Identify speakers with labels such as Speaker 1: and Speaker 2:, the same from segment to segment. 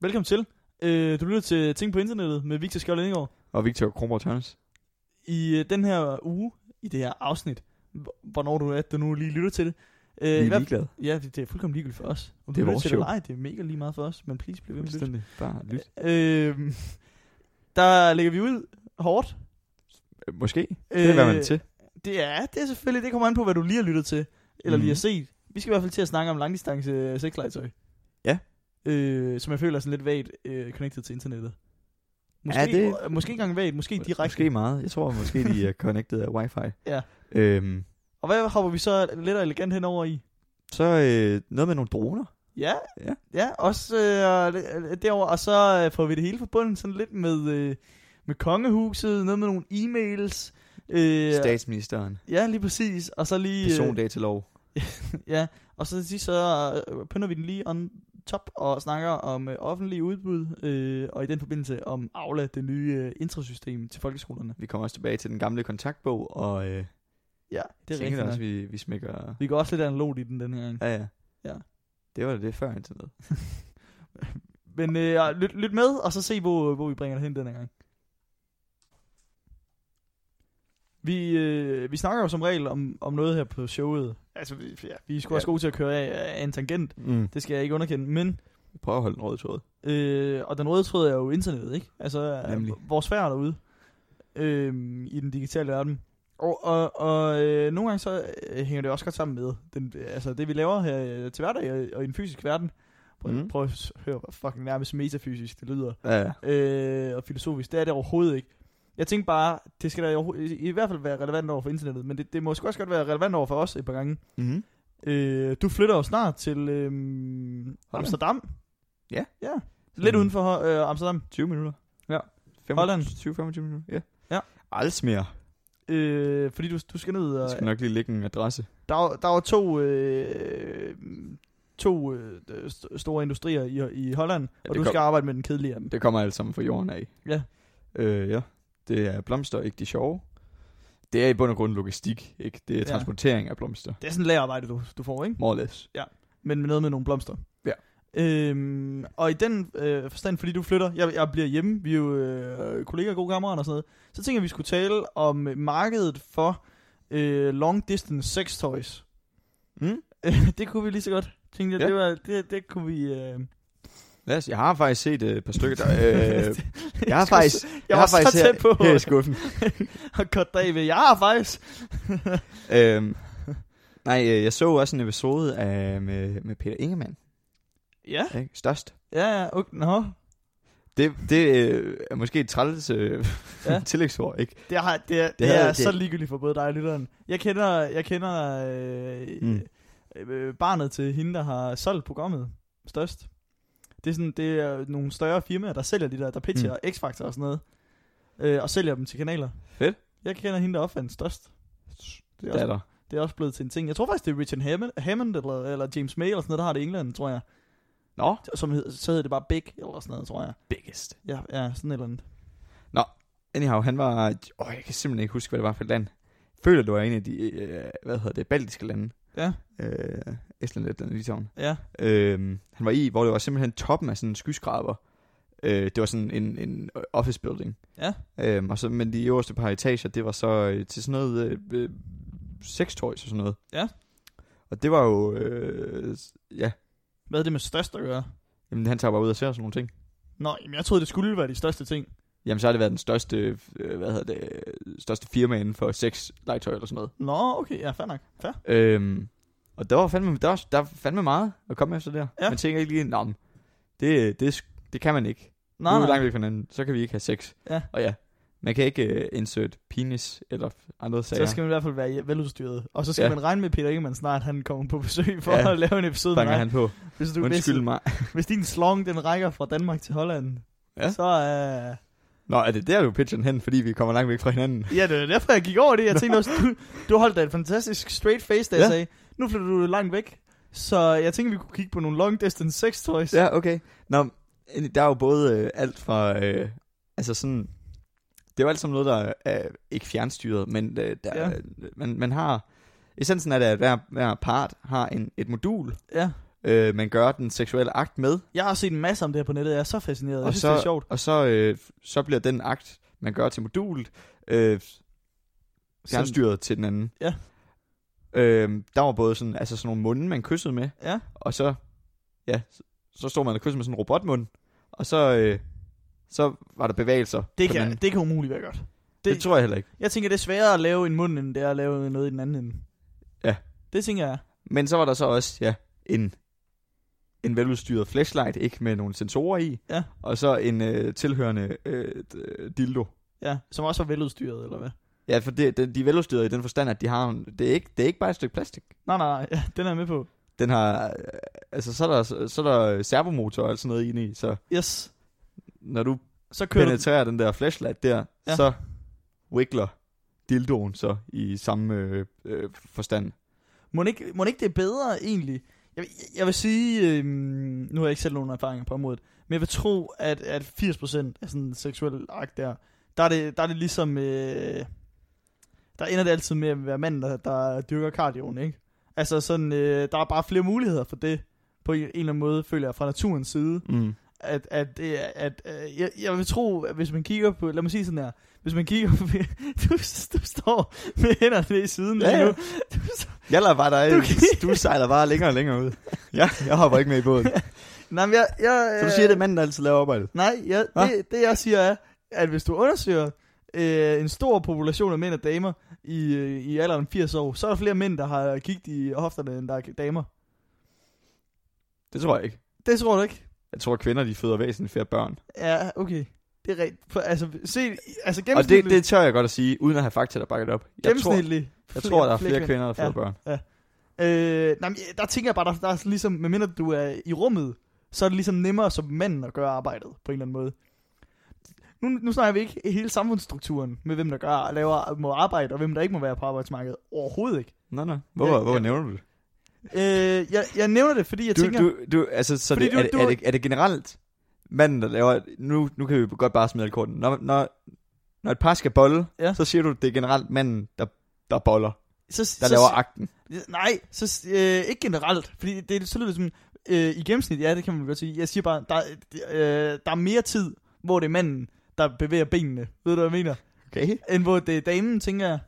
Speaker 1: Velkommen til. Øh, du lytter til Ting på Internettet med Victor Skjold Ingegaard.
Speaker 2: Og Victor Krummer Tørnes.
Speaker 1: I øh, den her uge, i det her afsnit, hv- hvornår du er, at du nu lige lytter til det. Øh,
Speaker 2: Vi
Speaker 1: i
Speaker 2: er
Speaker 1: hvert fald-
Speaker 2: ligeglade.
Speaker 1: Ja, det, det er fuldkommen ligegyldigt for os. Om
Speaker 2: Det
Speaker 1: det
Speaker 2: er
Speaker 1: er
Speaker 2: vores
Speaker 1: til det
Speaker 2: show.
Speaker 1: eller ej, det er mega lige meget for os, men please bliv ved med at lytte.
Speaker 2: Fuldstændig. Bare lyt.
Speaker 1: Øh, der lægger vi ud hårdt.
Speaker 2: Øh, Måske. Det er, hvad
Speaker 1: øh,
Speaker 2: man er til.
Speaker 1: Det er, det er selvfølgelig, det kommer an på, hvad du lige har lyttet til, eller mm. lige
Speaker 2: Mhm.
Speaker 1: har set. Vi skal i hvert fald til at snakke om langdistance øh, sexlegetøj.
Speaker 2: Ja.
Speaker 1: Øh, som jeg føler er sådan lidt vagt øh, connected til internettet. Måske,
Speaker 2: Ja, det-
Speaker 1: øh, måske ikke engang vagt, måske direkte.
Speaker 2: Måske meget. Jeg tror måske, de er connected af wifi.
Speaker 1: Ja.
Speaker 2: Øhm,
Speaker 1: Og hvad hopper vi så lidt og elegant henover i?
Speaker 2: så øh, noget med nogle droner.
Speaker 1: Ja,
Speaker 2: Ja.
Speaker 1: ja også øh, lidt- øh, derover og så øh, får vi det hele forbundet sådan lidt med, øh, med kongehuset, noget med nogle e-mails. Øh,
Speaker 2: Statsministeren.
Speaker 1: Ja, lige præcis. Og så lige... Øh,
Speaker 2: Persondatalov.
Speaker 1: ja, og så til sidst så øh, pønder vi den lige on top og snakker om øh, offentlige udbud, øh, og i den forbindelse om Aula, det nye øh, introsystem til folkeskolerne.
Speaker 2: Vi kommer også tilbage til den gamle kontaktbog, og øh,
Speaker 1: Ja, det er
Speaker 2: tænker
Speaker 1: rigtigt
Speaker 2: da også,
Speaker 1: nok. Vi...
Speaker 2: vi, vi smækker...
Speaker 1: vi går også lidt analogt i den den her gang.
Speaker 2: Ja, ja.
Speaker 1: Ja.
Speaker 2: Det var da det før internet.
Speaker 1: Men øh, lyt, lyt med, og så se, hvor, hvor vi bringer det hen den her gang. Vi, øh, vi snakker jo som regel om, om noget her på showet. Altså, vi- ja, vi er sgu
Speaker 2: Ja.
Speaker 1: også gode til at køre af, af en tangent.
Speaker 2: Mm.
Speaker 1: Det skal jeg ikke underkende. Men,
Speaker 2: Prøv at holde den røde tråd.
Speaker 1: øh, og den røde tråd er jo internettet, ikke? Altså,
Speaker 2: Nemlig.
Speaker 1: øh, vores færd derude. Øh, I den digitale verden. Og, og, og øh, nogle gange så øh, hænger det også godt sammen med den, altså det, vi laver her øh, til hverdag og, og i den fysiske verden. Prøv,
Speaker 2: Mhm.
Speaker 1: mm. prøv at høre, hvor fucking nærmest metafysisk det lyder
Speaker 2: Ja, ja.
Speaker 1: øh, og filosofisk. Det er det overhovedet ikke. Jeg tænkte bare, det skal da i, overho- i, i hvert fald være relevant over for internettet, men det, det må sgu også godt være relevant over for os et par gange.
Speaker 2: Mm-hmm.
Speaker 1: Øh, du flytter jo snart til øh, Amsterdam.
Speaker 2: Ja.
Speaker 1: ja. Lidt
Speaker 2: Mm.
Speaker 1: uden for øh, Amsterdam.
Speaker 2: 20 minutter.
Speaker 1: Ja.
Speaker 2: 5,
Speaker 1: Holland.
Speaker 2: 20-25 minutter, ja.
Speaker 1: Ja.
Speaker 2: Alsmere.
Speaker 1: Øh, fordi du, du skal ned
Speaker 2: Jeg
Speaker 1: og...
Speaker 2: skal nok lige lægge en adresse.
Speaker 1: Der, var- der var to, øh, to øh, st- store industrier i, i Holland, ja, og
Speaker 2: det
Speaker 1: du
Speaker 2: kom-
Speaker 1: skal arbejde med den kedelige af dem.
Speaker 2: Det kommer alt sammen fra jorden af.
Speaker 1: Ja.
Speaker 2: Øh, ja. Det er blomster, ikke de sjove. Det er i bund og grund logistik, ikke? Det er
Speaker 1: Ja.
Speaker 2: transportering af blomster.
Speaker 1: Det er sådan lagerarbejde, du, du får, ikke?
Speaker 2: More or less.
Speaker 1: men med noget med nogle blomster.
Speaker 2: Ja.
Speaker 1: Øhm, og i den øh, forstand, fordi du flytter, jeg, jeg bliver hjemme, vi er jo øh, kollegaer, gode kammerater og sådan noget, så tænker jeg, vi skulle tale om øh, markedet for øh, long distance sex toys.
Speaker 2: Mm?
Speaker 1: Øh, det kunne vi lige så godt. Tænkte jeg,
Speaker 2: Ja.
Speaker 1: det, var, det, det kunne vi... Øh,
Speaker 2: Lad os, jeg har faktisk set øh, et par stykker, der... Øh, jeg har faktisk... Jeg,
Speaker 1: Jeg
Speaker 2: har
Speaker 1: var så
Speaker 2: faktisk
Speaker 1: tæt på.
Speaker 2: her, her i skuffen.
Speaker 1: Og godt dag ved, jeg har faktisk...
Speaker 2: øhm, nej, øh, jeg så også en episode af, med, med Peter Ingemann.
Speaker 1: Ja,
Speaker 2: Ikke? Størst.
Speaker 1: ja, ja, okay, nå.
Speaker 2: Det, det øh, er måske et træls øh,
Speaker 1: Ja.
Speaker 2: ja. tillægsord, ikke?
Speaker 1: Det, har, det, er, det, det
Speaker 2: havde-
Speaker 1: er
Speaker 2: det-
Speaker 1: så ligegyldigt for både dig og lytteren. Jeg kender, jeg kender øh,
Speaker 2: Mm.
Speaker 1: mm. øh, barnet til hende, der har solgt programmet størst. Det er, sådan, det er nogle større firmaer, der sælger de der, der pitcher mm. X-Factor og sådan noget. Øh, og sælger dem til kanaler.
Speaker 2: Fedt.
Speaker 1: Jeg kender hende, der opfandt størst. Det er,
Speaker 2: Det er
Speaker 1: også,
Speaker 2: der.
Speaker 1: det er også blevet til en ting. Jeg tror faktisk, det er Richard Hammond, Hammond eller, eller James May eller sådan noget, der har det i England, tror jeg.
Speaker 2: Nå.
Speaker 1: Som hed, så hedder det bare Big eller sådan noget, tror jeg.
Speaker 2: Biggest.
Speaker 1: Ja, ja sådan et eller andet.
Speaker 2: Anyhow, han var... Åh, jeg kan simpelthen ikke huske, hvad det var for et land. Føler du er en af de, øh, hvad hedder det, baltiske lande?
Speaker 1: Ja,
Speaker 2: Øh, Estland, Letland, Litauen.
Speaker 1: ja.
Speaker 2: Øh, han var i, hvor det var simpelthen toppen af sådan en skyskraber. Øh, det var sådan en, en office building.
Speaker 1: Ja.
Speaker 2: Øh, og så, men de øverste par etager, det var så øh, til sådan noget øh, øh, sex toys og sådan noget.
Speaker 1: Ja.
Speaker 2: Og det var jo... Øh, s- ja,
Speaker 1: Hvad er det med størst at gøre?
Speaker 2: Jamen, han tager bare ud og ser sådan nogle ting.
Speaker 1: Nå, jamen, jeg troede, det skulle være de største ting.
Speaker 2: Jamen, så har det været den største, øh, hvad hedder det, øh, største firma inden for sex legetøj eller sådan noget.
Speaker 1: Nå, okay, ja, fair nok. Fair.
Speaker 2: Øhm, og der var, fandme, der, var, der var fandme meget at komme efter der.
Speaker 1: Ja.
Speaker 2: Man tænker ikke lige, "Nå, men det, det, er sk- det kan man ikke. Nej, nu er vi langt væk fra hinanden, så kan vi ikke have sex.
Speaker 1: Ja.
Speaker 2: Og ja, man kan ikke uh, insert penis eller andre sager.
Speaker 1: Så skal man i hvert fald være veludstyret. Og så skal ja.
Speaker 2: Ja.
Speaker 1: man regne med Peter Ingemann snart, han kommer på besøg for ja.
Speaker 2: Ja.
Speaker 1: at lave en episode med
Speaker 2: Banger
Speaker 1: dig.
Speaker 2: han på.
Speaker 1: Hvis, du, hvis,
Speaker 2: Undskyld mig.
Speaker 1: hvis din slong, den rækker fra Danmark til Holland,
Speaker 2: Ja.
Speaker 1: så uh...
Speaker 2: Nå, er det der, du pitcher den hen, fordi vi kommer langt væk fra hinanden?
Speaker 1: Ja, det er derfor, jeg gik over det. Jeg tænkte også, du, du holdt da et fantastisk straight face, da jeg
Speaker 2: Ja.
Speaker 1: sagde, nu flytter du langt væk. Så jeg tænkte, vi kunne kigge på nogle long distance sex toys.
Speaker 2: Ja, okay. Nå, men der er jo både øh, alt fra... Øh, altså sådan... Det er jo alt sammen noget, der er ikke fjernstyret, men øh, der,
Speaker 1: Ja.
Speaker 2: ja. man, man har... Essensen er, det, at hver, hver part har en, et modul,
Speaker 1: ja.
Speaker 2: øh, man gør den seksuelle akt med,
Speaker 1: Jeg har set en masse om det her på nettet, jeg er så fascineret. Jeg
Speaker 2: Og
Speaker 1: synes,
Speaker 2: så-
Speaker 1: det er sjovt.
Speaker 2: og så, øh, så bliver den akt, man gør til modulet, øh, fjernstyret til den anden.
Speaker 1: Ja.
Speaker 2: Øh, der var både sådan, altså sådan nogle munde, man kyssede med,
Speaker 1: Ja.
Speaker 2: og så, ja, så, så stod man og kyssede med sådan en robotmund, og så, øh, så var der bevægelser.
Speaker 1: Det
Speaker 2: på den
Speaker 1: kan,
Speaker 2: anden.
Speaker 1: det kan umuligt være godt.
Speaker 2: det,
Speaker 1: Det,
Speaker 2: det tror jeg heller ikke.
Speaker 1: jeg tænker, det er sværere at lave en mund, end det er at lave noget i den anden ende.
Speaker 2: Ja.
Speaker 1: Det tænker jeg.
Speaker 2: Men så var der så også, ja, en, en veludstyret flashlight, ikke med nogle sensorer i,
Speaker 1: Ja.
Speaker 2: og så en øh, tilhørende øh, d- øh, dildo.
Speaker 1: Ja, som også var veludstyret, eller hvad?
Speaker 2: Ja, for det, det, de er veludstyrede i den forstand, at de har en, det, er ikke, det er ikke bare et stykke plastik.
Speaker 1: Nej, nej, nej. Ja, den er jeg med på.
Speaker 2: Den har, øh, altså så er der, så er der servomotor og alt sådan noget inde i, så
Speaker 1: Yes.
Speaker 2: når du
Speaker 1: Så kører du...
Speaker 2: penetrerer den der flashlight der,
Speaker 1: Ja.
Speaker 2: ja. så wiggler dildoen så i samme øh, øh, forstand.
Speaker 1: Må ikke, må ikke det er bedre, egentlig? Jeg, jeg- jeg vil sige... Øh, nu har jeg ikke selv nogen erfaringer på området. Men jeg vil tro, at, at 80% af sådan en seksuel akt der... Der er det, der er det ligesom... Øh, der ender det altid med at være manden, der, der dyrker cardioen, ikke? Altså sådan... Øh, der er bare flere muligheder for det. På en en eller anden måde, føler jeg, fra naturens side.
Speaker 2: Mm.
Speaker 1: at, at, det er- at, at jeg, jeg vil tro, at hvis man kigger på, lad mig sige sådan her, hvis man kigger på, du, du står med hænderne i siden
Speaker 2: Ja,
Speaker 1: lige
Speaker 2: ja.
Speaker 1: nu.
Speaker 2: Jeg lader bare dig,
Speaker 1: Du kan-
Speaker 2: du sejler bare længere og længere ud. Ja, jeg hopper ikke med i båden.
Speaker 1: Nej, men jeg, jeg,
Speaker 2: Så du siger, det er manden, der altid laver arbejdet?
Speaker 1: Nej, jeg,
Speaker 2: Hva?
Speaker 1: det, det jeg siger er, at hvis du undersøger øh, en stor population af mænd og damer i, øh, i alderen 80 år, så er der flere mænd, der har kigget i hofterne, end der er damer.
Speaker 2: Det tror jeg ikke.
Speaker 1: Det tror du ikke?
Speaker 2: Jeg tror, kvinder de føder væsentligt flere børn.
Speaker 1: Ja, okay. Det er rigtigt. For- Altså, se, altså
Speaker 2: Og det,
Speaker 1: gennemsnitligt.
Speaker 2: det tør jeg godt at sige, uden at have fakta, der bakker det op. Jeg tror,
Speaker 1: gennemsnitligt.
Speaker 2: jeg tror der er flere kvinder, der føder
Speaker 1: Ja.
Speaker 2: børn.
Speaker 1: Øh, nej, men der tænker jeg bare, der, der er sådan ligesom, medmindre du er i rummet, så er det ligesom nemmere som mand at gøre arbejdet, på en eller anden måde. Nu, nu snakker vi ikke hele samfundsstrukturen med, hvem der gør, laver, må arbejde, og hvem der ikke må være på arbejdsmarkedet. Overhovedet ikke.
Speaker 2: Nå, nå. Hvorfor,
Speaker 1: Ja,
Speaker 2: hvorfor
Speaker 1: ja.
Speaker 2: nævner du det?
Speaker 1: Øh, jeg, jeg nævner det, fordi jeg
Speaker 2: Du,
Speaker 1: tænker...
Speaker 2: du, du, altså, så
Speaker 1: Fordi
Speaker 2: det,
Speaker 1: du-
Speaker 2: er, det,
Speaker 1: du-
Speaker 2: er, det, er det generelt manden, der laver... Nu, nu kan vi godt bare smide alkorten. Når, når, når et par skal bolle,
Speaker 1: Ja.
Speaker 2: ja. så siger du, det er generelt manden, der, der boller,
Speaker 1: så,
Speaker 2: der
Speaker 1: så,
Speaker 2: laver akten.
Speaker 1: Nej, så, øh, ikke generelt. Fordi det, så lyder det som... Øh, I gennemsnit, ja, det kan man godt sige. Jeg siger bare, der, øh, der er mere tid, hvor det er manden, der bevæger benene. Ved du, hvad jeg mener?
Speaker 2: Okay.
Speaker 1: end hvor det er damen, tænker jeg.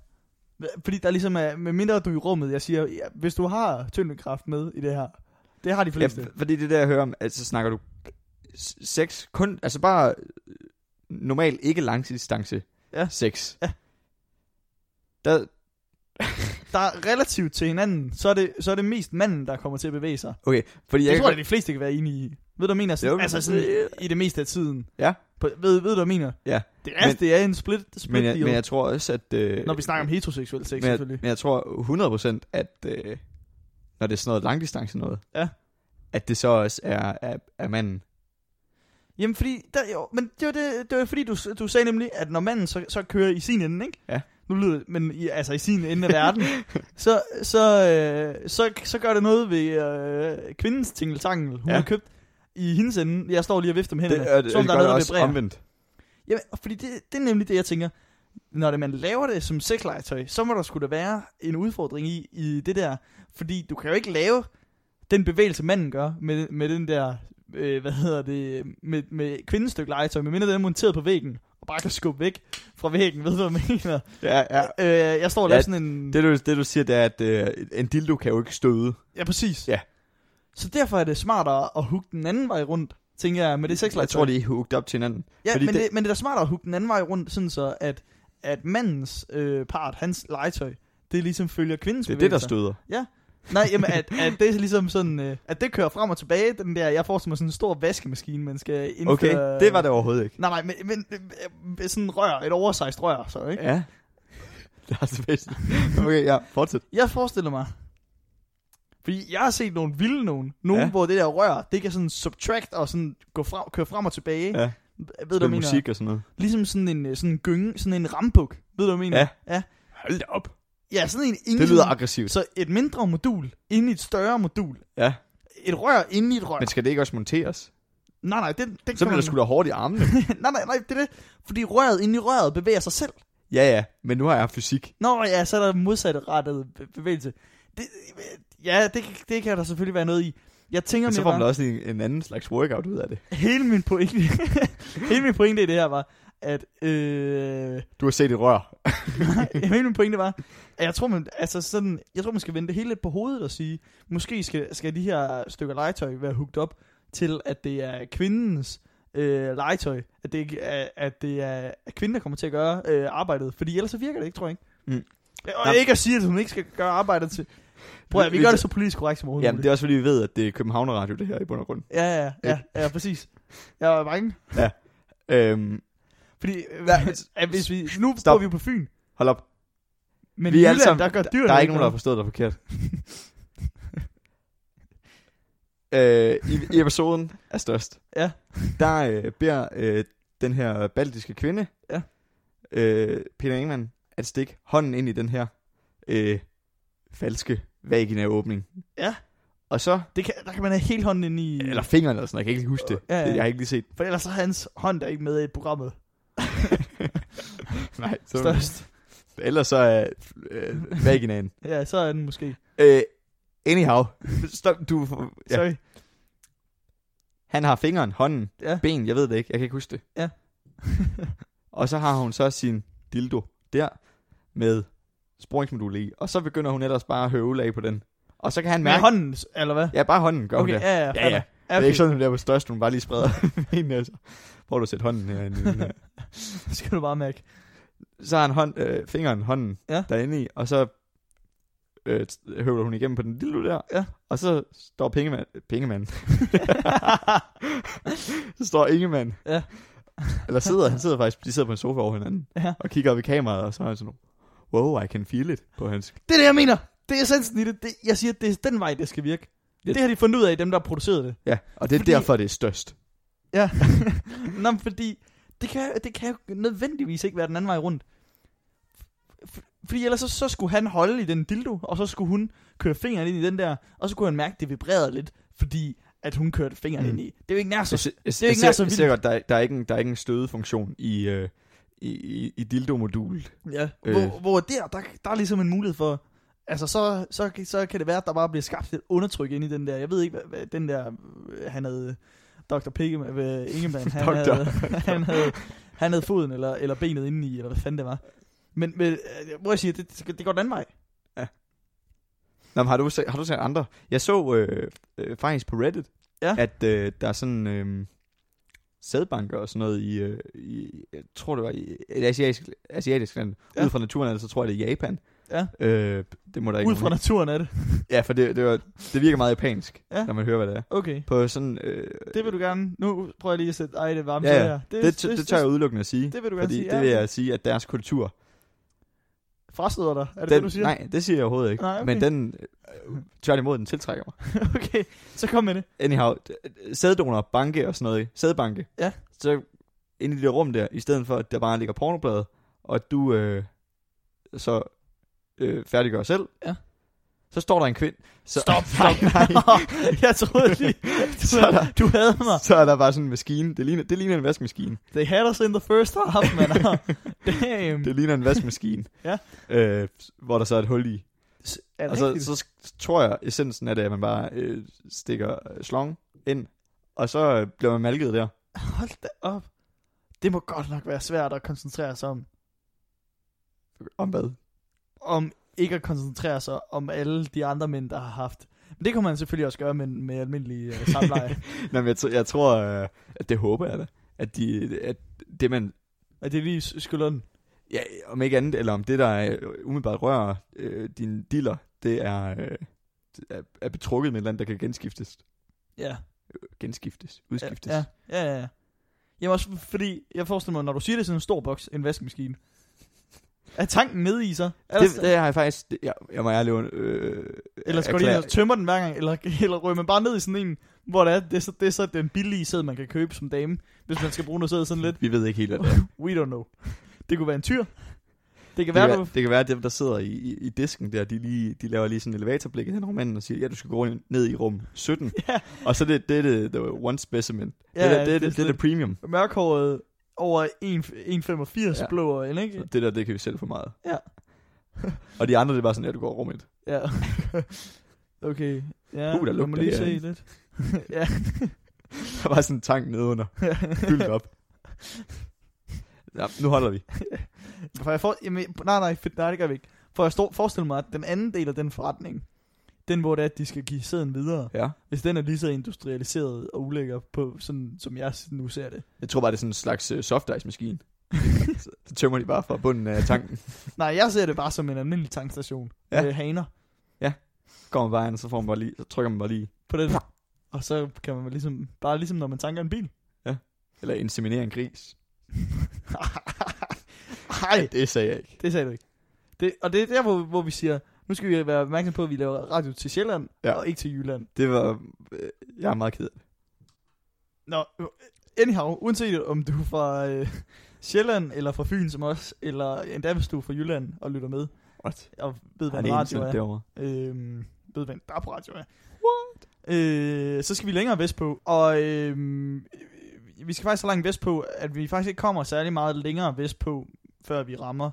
Speaker 1: Fordi der ligesom er, med mindre du er i rummet, jeg siger, ja, hvis du har tyndekraft med i det her, det har de
Speaker 2: Ja,
Speaker 1: fleste. Ja,
Speaker 2: fordi det der, jeg hører om, altså snakker du s- sex kun... Altså bare øh, normalt ikke langdistance
Speaker 1: Ja.
Speaker 2: sex.
Speaker 1: Ja.
Speaker 2: Der,
Speaker 1: der er relativt til hinanden, så er, det, så er det mest manden, der kommer til at bevæge sig.
Speaker 2: okay, fordi
Speaker 1: Jeg,
Speaker 2: jeg,
Speaker 1: jeg
Speaker 2: kan
Speaker 1: tror,
Speaker 2: godt-
Speaker 1: at de fleste kan være enige i. Ved du, hvad jeg mener? Sådan,
Speaker 2: Jo, men-
Speaker 1: altså sådan, i det meste af tiden.
Speaker 2: Ja.
Speaker 1: På, ved, ved du, hvad jeg mener?
Speaker 2: Ja.
Speaker 1: Det er, men,
Speaker 2: Men-
Speaker 1: det er en split, split
Speaker 2: men, jeg,
Speaker 1: deal,
Speaker 2: men jeg tror også, at... Øh,
Speaker 1: når vi snakker om heteroseksuel sex,
Speaker 2: men jeg,
Speaker 1: selvfølgelig.
Speaker 2: men jeg tror 100% at øh, når det er sådan noget langdistance noget,
Speaker 1: Ja.
Speaker 2: at det så også er, er, er manden.
Speaker 1: Jamen fordi, der, jo, men det var, det, det var fordi, du, du sagde nemlig, at når manden så, så kører i sin ende, ikke?
Speaker 2: Ja.
Speaker 1: Nu lyder det, men i, altså i sin ende af verden, så, så, øh, så, så gør det noget ved øh, kvindens tingeltangel, hun
Speaker 2: Ja.
Speaker 1: har købt i hendes ende. Jeg står lige og vifter med hænderne,
Speaker 2: er, det,
Speaker 1: som om
Speaker 2: det
Speaker 1: der
Speaker 2: gør
Speaker 1: er noget, der
Speaker 2: det også
Speaker 1: vibrerer.
Speaker 2: omvendt.
Speaker 1: Jamen, fordi det, det er nemlig det, jeg tænker. Når det, man laver det som sexlegetøj, så må der skulle da være en udfordring i, i det der. Fordi du kan jo ikke lave den bevægelse, manden gør med, med den der, øh, hvad hedder det, med, med kvindestykke legetøj, medmindre den er monteret på væggen, og bare kan skubbe væk fra væggen, ved du, hvad jeg mener?
Speaker 2: Ja, ja.
Speaker 1: Øh, jeg står og laver
Speaker 2: Ja,
Speaker 1: sådan en...
Speaker 2: Det du, det du siger, det er, at øh, en dildo kan jo ikke støde.
Speaker 1: Ja, præcis.
Speaker 2: Ja.
Speaker 1: Så derfor er det smartere at hugge den anden vej rundt, tænker jeg, med det sexlegetøj.
Speaker 2: Jeg tror, de er hooked op til hinanden.
Speaker 1: Ja,
Speaker 2: Fordi
Speaker 1: men det,
Speaker 2: det-
Speaker 1: men det er da smartere at hugge den anden vej rundt, sådan så at, at mandens øh, part, hans legetøj, det ligesom følger kvindens
Speaker 2: Det er det, der
Speaker 1: bevægelser.
Speaker 2: støder.
Speaker 1: Nej, jamen, at, at det er ligesom sådan, øh, at det kører frem og tilbage, den der, jeg forestiller mig sådan en stor vaskemaskine, man skal indføre.
Speaker 2: Okay, det var det overhovedet ikke.
Speaker 1: Nej, nej, men, men øh, øh, sådan en rør, et oversized rør, så, ikke?
Speaker 2: Ja. Det er så bedst. Okay, ja, fortsæt.
Speaker 1: Jeg forestiller mig, fordi jeg har set nogle vilde nogen, nogen,
Speaker 2: Ja.
Speaker 1: hvor det der rør, det kan sådan subtract og sådan gå frem, køre frem og tilbage.
Speaker 2: Ja.
Speaker 1: Ved du, hvad jeg
Speaker 2: Spil
Speaker 1: mener?
Speaker 2: musik og sådan noget.
Speaker 1: Ligesom sådan en, øh, sådan en gynge, sådan en rambuk. Ved du, hvad jeg mener?
Speaker 2: Ja.
Speaker 1: ja.
Speaker 2: Hold da op.
Speaker 1: Ja, sådan en ingen...
Speaker 2: Det lyder aggressivt.
Speaker 1: Så et mindre modul inde i et større modul.
Speaker 2: Ja.
Speaker 1: Et rør inde i et rør.
Speaker 2: Men skal det ikke også monteres?
Speaker 1: Nej, nej, den, den
Speaker 2: Så bliver
Speaker 1: man...
Speaker 2: der sgu da hårdt i armene.
Speaker 1: nej, nej, nej, det er det. Fordi røret inde i røret bevæger sig selv.
Speaker 2: Ja, ja, men nu har jeg fysik.
Speaker 1: Nå ja, så er der modsatte rettet bevægelse. Det, ja, det, det kan der selvfølgelig være noget i. Jeg tænker
Speaker 2: Men så
Speaker 1: mere
Speaker 2: får man
Speaker 1: bare,
Speaker 2: også en, en anden slags workout ud af det.
Speaker 1: hele min pointe, hele min pointe i det her var, at øh,
Speaker 2: Du har set et rør.
Speaker 1: hele min pointe var, at jeg tror, man, altså sådan, jeg tror, man skal vende det hele lidt på hovedet og sige, måske skal, skal de her stykker legetøj være hooked op til, at det er kvindens øh, legetøj, at det, ikke er, at det er at kvinden, der kommer til at gøre øh, arbejdet, fordi ellers så virker det ikke, tror jeg ikke.
Speaker 2: Mm.
Speaker 1: Og
Speaker 2: Jamen-
Speaker 1: ikke at sige, at hun ikke skal gøre arbejdet til... Prøv at, vi
Speaker 2: Vi-
Speaker 1: gør
Speaker 2: vi-
Speaker 1: det så politisk korrekt som overhovedet.
Speaker 2: Jamen, det er også fordi, vi ved, at det er København Radio, det her i bund og grund.
Speaker 1: Ja, ja, ja, ja, præcis. Jeg var bange.
Speaker 2: Øhm,
Speaker 1: Fordi, altså,
Speaker 2: Nej,
Speaker 1: at hvis vi, nu
Speaker 2: stop.
Speaker 1: bor vi jo på Fyn,
Speaker 2: hold op.
Speaker 1: men
Speaker 2: Vi
Speaker 1: vi
Speaker 2: er
Speaker 1: i
Speaker 2: alle
Speaker 1: Jylland,
Speaker 2: sammen-
Speaker 1: der gør dyrene
Speaker 2: Der er ikke nogen, der har forstået dig forkert. øh, i, I episoden er størst.
Speaker 1: Ja.
Speaker 2: Der øh, beder øh, den her baltiske kvinde,
Speaker 1: Ja.
Speaker 2: øh, Peter Ingemann, at stikke hånden ind i den her øh, falske vaginaåbning.
Speaker 1: Ja.
Speaker 2: Og så,
Speaker 1: Det kan, der kan man have helt hånden inde i...
Speaker 2: eller fingrene eller sådan noget, jeg kan ikke lige huske det.
Speaker 1: Ja, ja.
Speaker 2: Jeg har ikke lige set.
Speaker 1: For ellers så er hans hånd der ikke med i programmet.
Speaker 2: Nej, så,
Speaker 1: Størst.
Speaker 2: ellers så er øh, vaginaen.
Speaker 1: Ja, så er den måske.
Speaker 2: øh, anyhow, stop, du, ja.
Speaker 1: Sorry.
Speaker 2: Han har fingeren, hånden,
Speaker 1: Ja.
Speaker 2: ben, jeg ved det ikke, jeg kan ikke huske det.
Speaker 1: Ja.
Speaker 2: og så har hun så sin dildo der med sporingsmodul i, og så begynder hun ellers bare at høvle af på den. Og så kan han
Speaker 1: Med
Speaker 2: mærke...
Speaker 1: hånden, eller hvad?
Speaker 2: Ja, bare hånden gør
Speaker 1: okay,
Speaker 2: hun det.
Speaker 1: ja, ja,
Speaker 2: ja, ja. Det er
Speaker 1: okay.
Speaker 2: ikke sådan, hun der på størst, hun bare lige spreder benene, altså. Prøv du at sætte hånden herinde. herinde.
Speaker 1: Det skal du bare mærke.
Speaker 2: så har han hånd, øh, fingeren, hånden ja.
Speaker 1: Ja.
Speaker 2: derinde i, og så øh, t- høvler hun igennem på den dildo der,
Speaker 1: Ja.
Speaker 2: og så står pengemand, pengemanden, så står Ingemann,
Speaker 1: Ja.
Speaker 2: eller sidder, han sidder faktisk, de sidder på en sofa over hinanden,
Speaker 1: Ja.
Speaker 2: og kigger op i kameraet, og så er han sådan, wow, I can feel it, på hans,
Speaker 1: Det er det, jeg mener. Det er essensen i det. det jeg siger, at det er den vej, det skal virke.
Speaker 2: Det-
Speaker 1: Det, det har de fundet ud af, dem der har produceret det.
Speaker 2: ja, og det er Fordi...
Speaker 1: Fordi-
Speaker 2: derfor, det er størst.
Speaker 1: Ja. Nå, men fordi det kan, det kan jo nødvendigvis ikke være den anden vej rundt. F- Fordi ellers så, så skulle han holde i den dildo, og så skulle hun køre fingeren ind i den der, og så kunne han mærke, at det vibrerede lidt, fordi at hun kørte fingeren
Speaker 2: Mm.
Speaker 1: mm. ind i. Det er jo ikke nær så...
Speaker 2: Jeg, jeg, jeg,
Speaker 1: er ikke nær så
Speaker 2: jeg
Speaker 1: vildt.
Speaker 2: ser godt, der, er- der, er ikke en, der er ikke en stødefunktion i, øh, i, i, i dildo-modulet.
Speaker 1: Ja.
Speaker 2: Øh.
Speaker 1: Hvor, hvor der, der, der er ligesom en mulighed for... Altså, så, så, så kan det være, at der bare bliver skabt et undertryk ind i den der. Jeg ved ikke, hvad, hvad den der... øh, Han havde... Dr. Pigman, øh, Ingemann, han,
Speaker 2: Dr.
Speaker 1: havde, han, havde, han havde foden eller, eller benet inde i, eller hvad fanden det var. Men, men øh, hvor jeg siger, det, det går den anden vej.
Speaker 2: Nå, men har du, set, har du set andre? Jeg så øh, øh, faktisk på Reddit,
Speaker 1: Ja.
Speaker 2: at øh, der er sådan øh, sædbanker og sådan noget i, øh, i, jeg tror det var i et asiatisk, asiatisk land. Ja.
Speaker 1: Ja.
Speaker 2: Ud fra naturen, altså tror jeg det er Japan.
Speaker 1: Ja.
Speaker 2: Øh, det må der ikke
Speaker 1: Ud fra
Speaker 2: nogen-
Speaker 1: naturen er det.
Speaker 2: Ja, for det, det, var, det virker meget japansk, ja.
Speaker 1: Ja.
Speaker 2: når man hører, hvad det er.
Speaker 1: Okay.
Speaker 2: På sådan, øh,
Speaker 1: Det vil du gerne... Nu prøver jeg lige at sætte... Ej, det varme
Speaker 2: Ja,
Speaker 1: ja,
Speaker 2: ja.
Speaker 1: her.
Speaker 2: det, det, det tør jeg udelukkende at sige.
Speaker 1: det vil du gerne
Speaker 2: fordi
Speaker 1: sige,
Speaker 2: det
Speaker 1: ja,
Speaker 2: vil
Speaker 1: okay.
Speaker 2: jeg sige, at deres kultur...
Speaker 1: Frastøder dig. Er det
Speaker 2: den,
Speaker 1: det, du siger?
Speaker 2: Nej, det siger jeg overhovedet ikke.
Speaker 1: Nej, okay.
Speaker 2: Men den, øh, tværtimod, den tiltrækker mig.
Speaker 1: okay, så kom med det.
Speaker 2: anyhow, d- sæddonorer, banke og sådan noget, sædbanke.
Speaker 1: Ja.
Speaker 2: Så ind i det rum der, i stedet for, at der bare ligger pornoblade, og du øh, så øh, færdiggør selv.
Speaker 1: Ja.
Speaker 2: Så står der en kvinde. Så,
Speaker 1: nej,
Speaker 2: nej, nej.
Speaker 1: jeg troede lige, du,
Speaker 2: Så er der-
Speaker 1: du havde mig.
Speaker 2: så er der bare sådan en maskine. Det ligner, det ligner en vaskemaskine.
Speaker 1: They had us in the first half, man. Damn.
Speaker 2: Det ligner en vaskemaskine.
Speaker 1: Ja.
Speaker 2: øh, hvor der så er et hul i.
Speaker 1: Er det
Speaker 2: Og så,
Speaker 1: rigtigt?
Speaker 2: altså, så sk- tror jeg, essensen af det er, at man bare øh, stikker øh, slong ind, og så øh, bliver man malket der.
Speaker 1: Hold da op. Det må godt nok være svært at koncentrere sig om.
Speaker 2: Om hvad?
Speaker 1: Om ikke at koncentrere sig om alle de andre mænd, der har haft. Men det kunne man selvfølgelig også gøre med, med almindelig uh, samleje.
Speaker 2: Nå, men jeg, tr- jeg tror, øh, at det håber jeg da. At, de, at det man,
Speaker 1: Og det er lige s- skulderen.
Speaker 2: ja, om ikke andet, eller om det, der er umiddelbart rører øh, din diller, det er, øh, det er, er betrukket med et eller andet, der kan genskiftes.
Speaker 1: Ja.
Speaker 2: Genskiftes, udskiftes.
Speaker 1: Ja, ja, ja. ja. Jamen også fordi, jeg forestiller mig, når du siger det er sådan en stor boks, en vaskemaskine. Er tanken nede i så? Er der-
Speaker 2: Det, det har jeg faktisk, det, jeg, jeg må ærligt und- øh,
Speaker 1: Ellers går de
Speaker 2: erklære-
Speaker 1: ind og tømmer den hver gang, eller, eller ryger man bare ned i sådan en, hvor det er, det er, så, det er så den billige sæd, man kan købe som dame, hvis man skal bruge noget sæd sådan lidt.
Speaker 2: Vi ved ikke helt, hvad det er.
Speaker 1: We don't know. Det kunne være en tyr. Det kan
Speaker 2: Det kan,
Speaker 1: være,
Speaker 2: være,
Speaker 1: du...
Speaker 2: det kan være, at dem, der sidder i, i, i disken der, de, lige, de laver lige sådan en elevatorblik hen over manden og siger, ja, du skal gå ned i rum 17.
Speaker 1: Ja.
Speaker 2: Og så er det, det, er det, det er one specimen.
Speaker 1: Ja,
Speaker 2: det, er,
Speaker 1: ja,
Speaker 2: det, det,
Speaker 1: det er
Speaker 2: det, det er
Speaker 1: sådan-
Speaker 2: det premium.
Speaker 1: Mørkhåret over 1,85
Speaker 2: Ja.
Speaker 1: ja. blå øjne, ikke?
Speaker 2: Så det der, det kan vi sælge for meget.
Speaker 1: Ja.
Speaker 2: og de andre, det er bare sådan, at du går rummet.
Speaker 1: Ja. Okay. Ja,
Speaker 2: Uh, der
Speaker 1: man må
Speaker 2: lugter
Speaker 1: lige se
Speaker 2: herinde.
Speaker 1: lidt. ja.
Speaker 2: Der var sådan en tank nedenunder, fyldt op. Ja, nu holder vi.
Speaker 1: For jeg for, jamen, nej, nej, fedt, nej, det gør vi ikke. For jeg står, forestiller mig, at den anden del af den forretning, den hvor det er, at de skal give sæden videre,
Speaker 2: Ja.
Speaker 1: hvis den er lige så industrialiseret og ulækker på, sådan som jeg nu ser det.
Speaker 2: Jeg tror bare, det er sådan en slags uh, softice-maskine. så, så tømmer de bare fra bunden af tanken.
Speaker 1: Nej, jeg ser det bare som en almindelig tankstation
Speaker 2: Ja.
Speaker 1: ja. med haner
Speaker 2: Kommer bare ind, og så, får man bare lige, så trykker man bare lige.
Speaker 1: på den. Og så kan man ligesom, bare ligesom når man tanker en bil.
Speaker 2: Eller inseminerer en gris.
Speaker 1: Nej,
Speaker 2: Det sagde jeg ikke.
Speaker 1: det sagde du ikke. Det, og det er der, hvor, hvor vi siger, nu skal vi være opmærksom på, at vi laver radio til Sjælland
Speaker 2: Ja.
Speaker 1: ja. og ikke til Jylland.
Speaker 2: Det var... Øh, jeg er meget ked af det.
Speaker 1: Nå, øh, anyhow, uanset om du er fra øh, Sjælland, eller fra Fyn som os, eller endda hvis du er fra Jylland og lytter med,
Speaker 2: What?
Speaker 1: og ved,
Speaker 2: Har
Speaker 1: hvad
Speaker 2: det
Speaker 1: en radio
Speaker 2: internet
Speaker 1: er,
Speaker 2: derovre?
Speaker 1: øh, ved, hvad en DAB radio er, What? Øh, så skal vi længere vestpå, og øh, vi skal faktisk så langt vestpå, at vi faktisk ikke kommer særlig meget længere vestpå, før vi rammer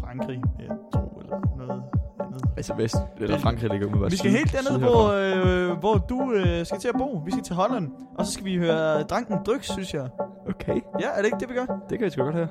Speaker 1: Frankrig, jeg tror, eller noget andet.
Speaker 2: Altså vest. Eller
Speaker 1: Belgien.
Speaker 2: Frankrig ligger umiddelbart
Speaker 1: Vi skal
Speaker 2: syd-
Speaker 1: helt derned,
Speaker 2: syd
Speaker 1: hvor,
Speaker 2: herfra.
Speaker 1: øh, hvor du øh, skal til at bo. Vi skal til Holland, og så skal vi høre Dranken Dryks, synes jeg.
Speaker 2: Okay,
Speaker 1: Ja, er det ikke det, vi gør?
Speaker 2: det kan jeg sgu godt høre.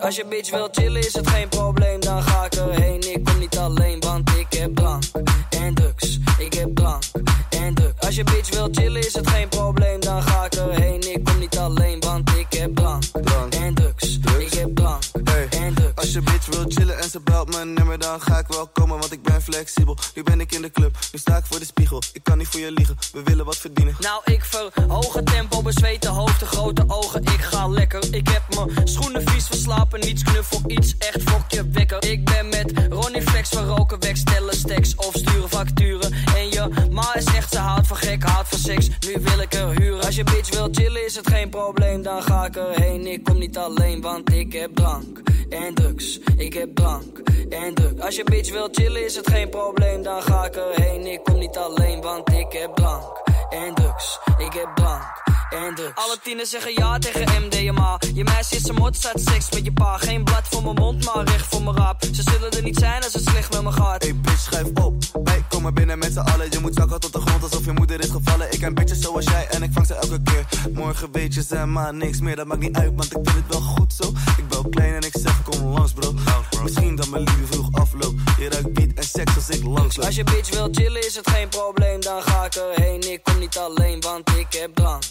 Speaker 3: Als je bitch wil chillen is het geen probleem, dan ga ik erheen. Ik kom niet alleen, want ik heb drank en drugs. Ik heb drank en drugs. Als je bitch wil chillen is het geen probleem, dan ga ik erheen. Ik kom niet alleen, want ik heb drank
Speaker 4: Drank.
Speaker 3: en drugs.
Speaker 4: Drugs.
Speaker 3: Ik heb drank
Speaker 4: Hey.
Speaker 3: en drugs.
Speaker 4: Als je bitch wil chillen en ze belt mijn nummer, dan ga ik wel komen, want ik ben flexibel. Nu ben ik in de club, nu sta ik voor de spiegel. Ik kan niet voor je liegen, we willen wat verdienen.
Speaker 3: Nou, ik verhoog het tempo, bezweten hoofd, de grote ogen. Ik ga lekker. Ik heb mijn schoenen vies verslapen, niets knuffel, iets echt fokje wekker. Ik ben met Ronnie Flex, we roken weg, stellen stacks of sturen facturen. En je ma is echt, ze houdt van gek, houdt van seks. Nu wil ik er huren. Als je bitch wil chillen, is het geen probleem, dan ga ik erheen. Ik kom niet alleen, want ik heb drank en drugs. Ik heb drank en drugs. Als je bitch wil chillen, is het geen probleem, dan ga ik erheen. Ik kom niet alleen, want ik heb drank en drugs. Ik heb drank en drugs. Alle tieners zeggen ja tegen MDMA. Je meisje is een mot, staat seks met je pa. Geen blad voor mijn mond, maar recht voor mijn raap. Ze zullen er niet zijn als het slecht met me gaat.
Speaker 4: Hey bitch, schuif op. Wij komen binnen met z'n allen. Je moet zakken tot de grond alsof je moeder is gevallen. Ik ken bitches zoals jij en ik vang ze elke keer. Morgen weet je ze maar niks meer, dat maakt niet uit, want ik vind het wel goed zo. Ik bel klein en ik zeg kom langs bro. Misschien dat mijn liefde vroeg afloopt. Je ruikt beat en seks als ik langs loop.
Speaker 3: Als je bitch wil chillen, is het geen probleem, dan ga ik erheen. Ik kom niet alleen, want ik heb drank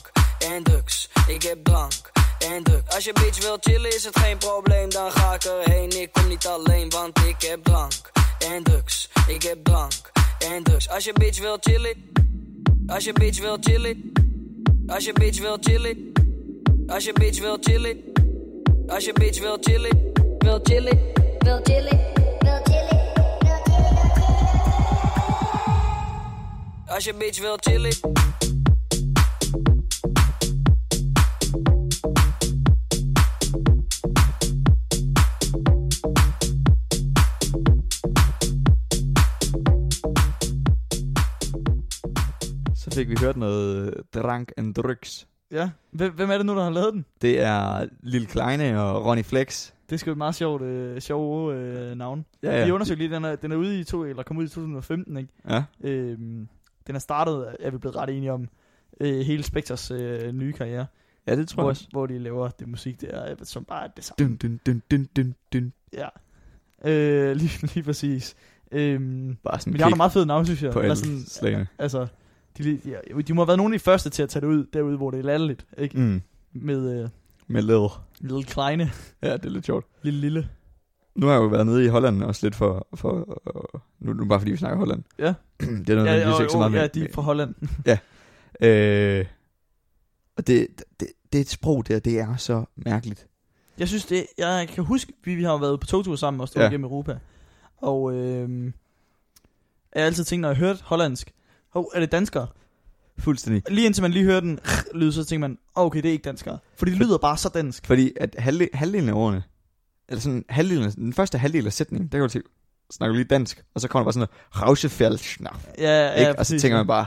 Speaker 3: en drugs. Ik heb drank. En drugs. Als je bitch wil chillen is het geen probleem, dan ga ik erheen. Ik kom niet alleen, want ik heb drank en drugs. Ik heb drank en drugs. Als je bitch wil chillen, als je bitch wil chillen, als je bitch wil chillen, als je bitch wil chillen, als je bitch wil chillen, wil chillen.
Speaker 5: Bill Tilly, Bill Tilly, Bill Tilly.
Speaker 3: Als je bitch wil chillen.
Speaker 2: Så fik vi hørt noget øh, Drank and Drugs.
Speaker 1: Ja. Hvem hvem er det nu, der har lavet den?
Speaker 2: Det er Lille Kleine og Ronnie Flex.
Speaker 1: Det skal jo et meget sjovt, øh, sjove øh, navn.
Speaker 2: Ja,
Speaker 1: Ja.
Speaker 2: ja.
Speaker 1: Vi undersøgte lige, den er, den er ude i to, eller kom ud i 2015, ikke?
Speaker 2: ja.
Speaker 1: Øhm, den er startet, er vi blevet ret enige om, øh, hele Spectres øh, nye karriere.
Speaker 2: ja, det tror jeg også.
Speaker 1: Hvor, hvor de laver det musik der, øh, som bare er det samme.
Speaker 2: Dun, dun, dun, dun, dun, dun.
Speaker 1: Ja. Øh, lige, lige præcis. Øhm,
Speaker 2: Bare sådan
Speaker 1: men de har
Speaker 2: kig
Speaker 1: nogle meget fede navne, synes jeg.
Speaker 2: på
Speaker 1: Eller
Speaker 2: alle
Speaker 1: sådan,
Speaker 2: slagene.
Speaker 1: Altså, de, de, de må have været nogle af de første til at tage det ud, derude, hvor det er latterligt, ikke?
Speaker 2: Mm.
Speaker 1: Med øh,
Speaker 2: Med led.
Speaker 1: Lille Kleine,
Speaker 2: Ja, det er lidt sjovt.
Speaker 1: Lille Lille.
Speaker 2: Nu har jeg jo været nede i Holland også lidt for... for uh, nu, nu bare fordi vi snakker Holland.
Speaker 1: Ja.
Speaker 2: det er noget, ja,
Speaker 1: og-
Speaker 2: ikke så
Speaker 1: og-
Speaker 2: meget med.
Speaker 1: ja, de er fra Holland.
Speaker 2: Øh, og det, det, det, et sprog der, det er så mærkeligt.
Speaker 1: Jeg synes det, jeg kan huske, vi, vi har jo været på togtur sammen og stået
Speaker 2: Ja.
Speaker 1: ja. igennem Europa. Og øh, jeg har altid tænkt, når jeg hørte hollandsk, hov, er det danskere?
Speaker 2: Fuldstændig.
Speaker 1: Lige indtil man lige hører den lyd, så tænker man, "Åh, okay, det er ikke danskere. Fordi det lyder bare så dansk.
Speaker 2: Fordi at halvde, halvdelen af ordene, eller sådan halvdelen, af- den første halvdel af sætningen, der kan du til, snakker du lige dansk, og så kommer der bare sådan noget, Rausefjellschnaf,
Speaker 1: Ja, ja,
Speaker 2: ja, og så tænker man bare,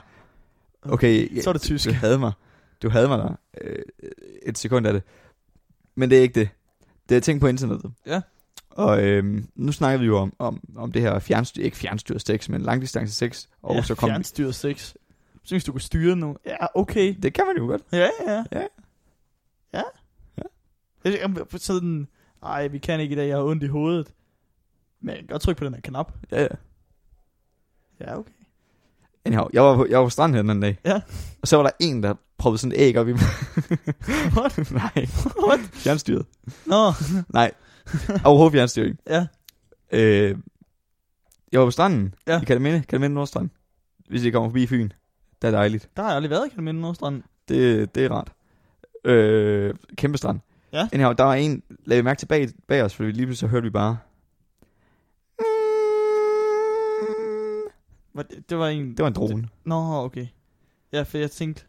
Speaker 2: okay, ja,
Speaker 1: Så er det tysk.
Speaker 2: du havde mig, du havde mig der øh, et sekund af det. Men det er ikke det. Det har jeg tænkt på internettet.
Speaker 1: Ja.
Speaker 2: Og øhm, nu snakker vi jo om, om, om det her fjernstyr, ikke fjernstyret sex, men langdistance sex. Og
Speaker 1: ja,
Speaker 2: så kom
Speaker 1: fjernstyret sex. Synes du kunne styre nogen? Ja, okay.
Speaker 2: Det kan man jo godt.
Speaker 1: Ja, ja.
Speaker 2: Ja.
Speaker 1: Ja.
Speaker 2: Ja.
Speaker 1: Jeg jeg- på sådan, nej, vi kan ikke i dag, jeg har ondt i hovedet. Men jeg kan godt trykke på den her knap.
Speaker 2: Ja, ja.
Speaker 1: Ja, okay.
Speaker 2: Anyhow, jeg var, på, jeg var på stranden her den anden dag.
Speaker 1: Ja.
Speaker 2: Og så var der en, der proppede sådan et æg op i mig.
Speaker 1: What?
Speaker 2: Nej.
Speaker 1: What?
Speaker 2: Fjernstyret.
Speaker 1: Nå,
Speaker 2: Nej. Overhovedet fjernstyring.
Speaker 1: ja.
Speaker 2: Øh, jeg var på stranden.
Speaker 1: Ja.
Speaker 2: I Kalaminde. Kalaminde Nordstrand. Hvis I kommer forbi Fyn. Det er dejligt.
Speaker 1: Der har jeg aldrig været i Kalminde Nordstrand.
Speaker 2: Det, det er rart. Øh, kæmpe strand.
Speaker 1: Ja.
Speaker 2: Anyhow, der var en, lagde mærke til bag, bag os, for lige pludselig så hørte vi bare... "Mm."
Speaker 1: Var Det, det var en...
Speaker 2: Det var en drone.
Speaker 1: Nå, okay. Ja, for jeg tænkte...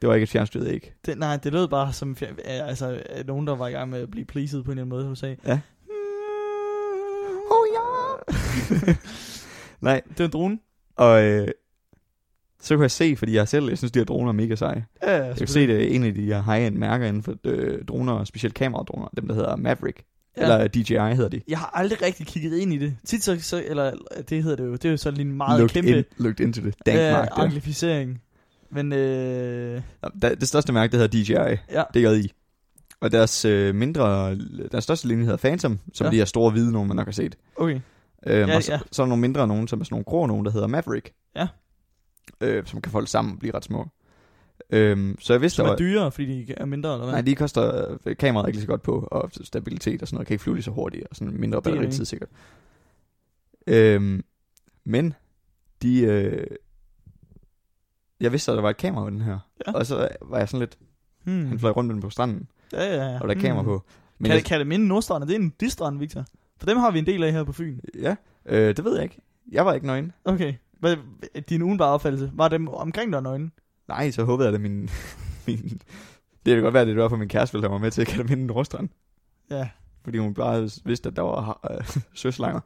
Speaker 2: Det var ikke et fjernstyret æg.
Speaker 1: Det, nej, det lød bare som... fjer- ja, Altså, øh, nogen, der var i gang med at blive pleaset på en eller anden måde hos USA.
Speaker 2: Ja.
Speaker 1: Oh, ja.
Speaker 2: Nej,
Speaker 1: Det var en drone.
Speaker 2: og øh, så kunne jeg se, fordi jeg selv jeg synes, de her droner er mega seje.
Speaker 1: Ja, ja,
Speaker 2: Jeg kan se,
Speaker 1: selvfølgelig.
Speaker 2: det er en af de her high-end mærker inden for øh, droner, og specielt kameradroner, dem der hedder Maverick, ja.
Speaker 1: Ja.
Speaker 2: eller DJI hedder de.
Speaker 1: Jeg har aldrig rigtig kigget ind i det. Tit så, så eller det hedder det jo, det er jo sådan lige en meget
Speaker 2: Looked
Speaker 1: kæmpe
Speaker 2: in, looked into det. Dank
Speaker 1: øh,
Speaker 2: mark, det.
Speaker 1: anglificering. Men øh,
Speaker 2: Der- det største mærke, det hedder DJI,
Speaker 1: ja,
Speaker 2: DJI. Og deres øh, mindre, deres største linje hedder Phantom, som
Speaker 1: Ja.
Speaker 2: ja. de her store hvide nogen, man nok har set.
Speaker 1: okay. Ja,
Speaker 2: Øhm, ja, og så,
Speaker 1: ja.
Speaker 2: ja. så er der nogle mindre nogen, som er sådan nogle grå nogen, der hedder Maverick.
Speaker 1: Ja.
Speaker 2: Øh, som kan folde sammen og blive ret små. Øhm, så jeg vidste,
Speaker 1: Som
Speaker 2: der
Speaker 1: er
Speaker 2: var-
Speaker 1: dyrere, fordi de er mindre, eller hvad?
Speaker 2: Nej, de koster øh, kameraet ikke lige så godt på, og stabilitet og sådan noget, kan ikke flyve lige så hurtigt, og sådan mindre
Speaker 1: Det er
Speaker 2: batteritid sikkert. Øhm, men, de, øh, jeg vidste, at der var et kamera på den her,
Speaker 1: Ja.
Speaker 2: ja. og så var jeg sådan lidt,
Speaker 1: hmm.
Speaker 2: han fløj rundt med den på stranden,
Speaker 1: ja, ja, ja.
Speaker 2: og der er kamera på.
Speaker 1: Men
Speaker 2: Men
Speaker 1: kan,
Speaker 2: jeg,
Speaker 1: det, kan det minde Nordstrand? Er det en distrand, Victor? For dem har vi en del af her på Fyn.
Speaker 2: ja, øh, det ved jeg ikke. Jeg var ikke nøgen.
Speaker 1: Okay. Hvad, din ugenbare opfattelse, var dem omkring dig nøgne?
Speaker 2: Nej, så håbede jeg, at min, min det kan godt være, at det var for min kæreste, ville have mig med til at kalde min Nordstrand.
Speaker 1: Ja.
Speaker 2: Fordi hun bare vidste, at der var øh, søslanger.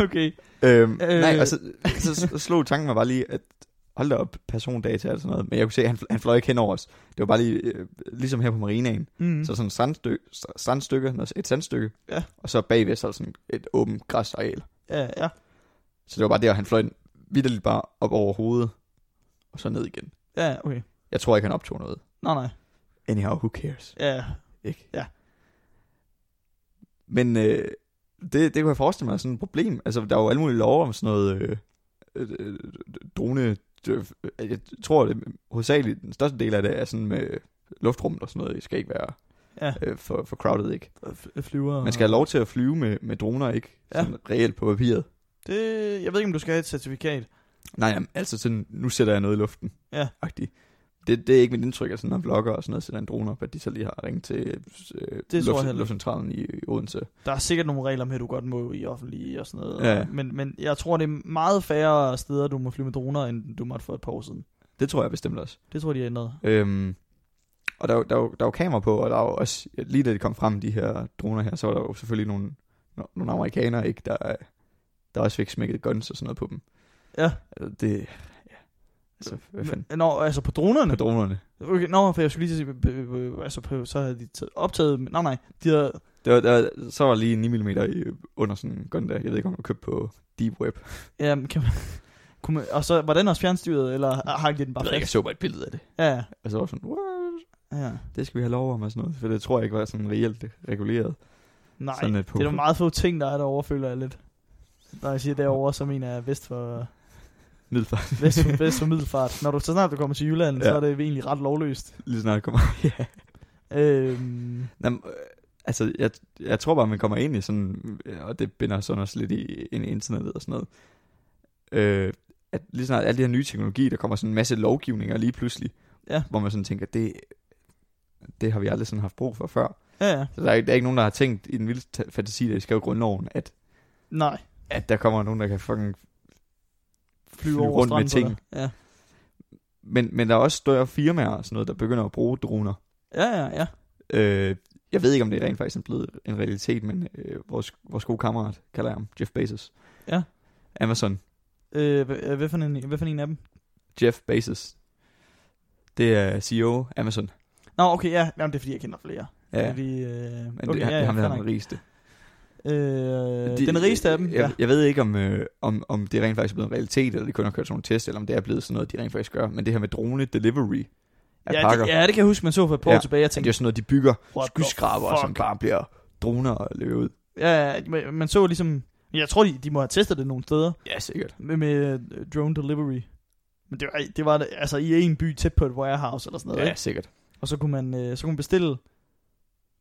Speaker 1: okay.
Speaker 2: Øhm,
Speaker 1: Øh.
Speaker 2: øh. Nej, og så, så, så slog tanken mig bare lige, at hold da op, persondata og sådan noget. Men jeg kunne se, at han, fl- han fløj ikke hen over os. Det var bare lige, øh, ligesom her på marinaen.
Speaker 1: Mm.
Speaker 2: Mm. Så sådan et strandstykke, strandstykke, noget- et sandstykke.
Speaker 1: Ja.
Speaker 2: Og så bagved så sådan et åbent græsareal.
Speaker 1: Ja, ja.
Speaker 2: Så det var bare der, han fløj vidderligt bare op over hovedet. Og så ned igen.
Speaker 1: Ja, okay.
Speaker 2: Jeg tror ikke, han optog noget.
Speaker 1: Nej, nej.
Speaker 2: Anyhow, who cares?
Speaker 1: Ja,
Speaker 2: Ikke?
Speaker 1: Ja.
Speaker 2: Men øh, det, det kunne jeg forestille mig er sådan et problem. Altså, der er jo alle mulige lov om sådan noget øh, øh, øh, drone... øh, Jeg tror, det hovedsageligt den største del af det er sådan med luftrummet og sådan noget. Det skal ikke være
Speaker 1: Ja.
Speaker 2: øh, for, for crowded, ikke?
Speaker 1: f- øh, flyver.
Speaker 2: Man skal have lov til at flyve med, med droner, ikke?
Speaker 1: Ja.
Speaker 2: Sådan reelt på papiret.
Speaker 1: Det, jeg ved ikke, om du skal have et certifikat.
Speaker 2: Øh, Nej, jamen, altså sådan, nu sætter jeg noget i luften.
Speaker 1: Ja.
Speaker 2: Agtig. Det, det er ikke mit indtryk, at sådan nogle vlogger og sådan noget sætter en drone op, at de så lige har ringet til øh,
Speaker 1: jeg heller
Speaker 2: luft,
Speaker 1: ikke.
Speaker 2: luftcentralen i, i Odense.
Speaker 1: Der er sikkert nogle regler med, du godt må i offentlige og sådan noget.
Speaker 2: Ja.
Speaker 1: Men, men jeg tror, det er meget færre steder, du må flyve med droner, end du måtte for et par år siden.
Speaker 2: Det tror jeg bestemt også.
Speaker 1: Det tror jeg, de har ændret.
Speaker 2: Øhm, og der, er jo- der, er jo- der var kamera på, og der var også, lige da de kom frem, de her droner her, så var der jo selvfølgelig nogle, no- nogle amerikanere, ikke, der, øh, der også fik smækket guns og sådan noget på dem.
Speaker 1: Ja.
Speaker 2: Altså, det, ja. Altså, hvad fanden?
Speaker 1: Men- Nå, altså på dronerne?
Speaker 2: På dronerne.
Speaker 1: Okay, nå, for jeg skulle lige til at sige, b- b- b- altså på, så havde de taget- optaget, men nej, nej, de havde,
Speaker 2: Det var, der, var- så var lige 9 mm i, under sådan en gun der. Jeg ved ikke, om du købte på Deep Web. Jeg
Speaker 1: ja, men kan man, kunne man, og så, var den også fjernstyret, eller hang de den bare
Speaker 2: ved ikke, jeg
Speaker 1: fast?
Speaker 2: så bare et billede af Altså, det.
Speaker 1: Ja, ja,
Speaker 2: Og så var jeg sådan, What?
Speaker 1: ja,
Speaker 2: det skal vi have lov om og sådan noget. For det tror jeg ikke var sådan reelt reguleret.
Speaker 1: nej,
Speaker 2: sådan øh, et
Speaker 1: det er der meget få ting, der er derovre, føler jeg lidt. Når jeg siger derovre, så mener jeg vest for,
Speaker 2: Middelfart,
Speaker 1: vest for, vest for middelfart. Når du, så snart du kommer til Jylland, ja. så
Speaker 2: Ja.
Speaker 1: er det egentlig ret lovløst.
Speaker 2: lige snart kommer. ja.
Speaker 1: Øhm,
Speaker 2: Jamen, øh, altså, jeg, jeg tror bare, man kommer ind i sådan, og det binder sådan også lidt i, ind i internettet og sådan noget, øh, at lige snart alle de her nye teknologi, der kommer sådan en masse lovgivninger lige pludselig,
Speaker 1: Ja.
Speaker 2: hvor man sådan tænker, det, det har vi aldrig sådan haft brug for før.
Speaker 1: ja, ja,
Speaker 2: Så der er, ikke- der er ikke nogen, der har tænkt i den vildeste ta- fantasi, da de skrev grundloven, at,
Speaker 1: nej,
Speaker 2: at der kommer nogen, der kan fucking...
Speaker 1: flyve
Speaker 2: Flyve
Speaker 1: over
Speaker 2: rundt med
Speaker 1: stranden på dig. Ja,
Speaker 2: Men, men der er også større firmaer og sådan noget, der begynder at bruge droner.
Speaker 1: ja, ja, ja.
Speaker 2: Øh, jeg ved ikke, om det rent faktisk er blevet en realitet, men øh, vores, vores gode kammerat, kalder jeg ham, Jeff Bezos.
Speaker 1: Ja.
Speaker 2: Amazon,
Speaker 1: Øh, hvad, hvad, for en, hvad for en af dem?
Speaker 2: Jeff Bezos. Det er E CEO Amazon.
Speaker 1: Nå, okay, ja, Jamen, det er fordi, jeg kender flere.
Speaker 2: Ja.
Speaker 1: Fordi, øh,
Speaker 2: Men
Speaker 1: okay,
Speaker 2: det,
Speaker 1: ja,
Speaker 2: ja,
Speaker 1: ja,
Speaker 2: ham, der
Speaker 1: fair
Speaker 2: er den
Speaker 1: nok.
Speaker 2: rigeste.
Speaker 1: øh,
Speaker 2: De-
Speaker 1: den rigeste af dem,
Speaker 2: Jeg,
Speaker 1: ja.
Speaker 2: jeg ved ikke, om, øh, om, om det rent faktisk er blevet en realitet, eller de kun har kørt sådan nogle test, eller om det er blevet sådan noget, de rent faktisk gør. Men det her med drone delivery af
Speaker 1: Ja,
Speaker 2: pakker,
Speaker 1: det, ja, det kan jeg huske, man så for et par år
Speaker 2: Ja,
Speaker 1: tilbage. Jeg
Speaker 2: det er jo
Speaker 1: tænkte,
Speaker 2: sådan noget, de bygger
Speaker 1: What the
Speaker 2: skyskraber, som
Speaker 1: fuck?
Speaker 2: bare bliver droner og løber ud.
Speaker 1: ja, ja, man- man så ligesom... Jeg tror, de, de må have testet det nogle steder
Speaker 2: Ja, sikkert.
Speaker 1: med, med øh, drone delivery. Men det var, det var altså i en by tæt på et warehouse eller sådan noget.
Speaker 2: Ja,
Speaker 1: Ja.
Speaker 2: sikkert.
Speaker 1: Og så kunne man, øh, så kunne man bestille,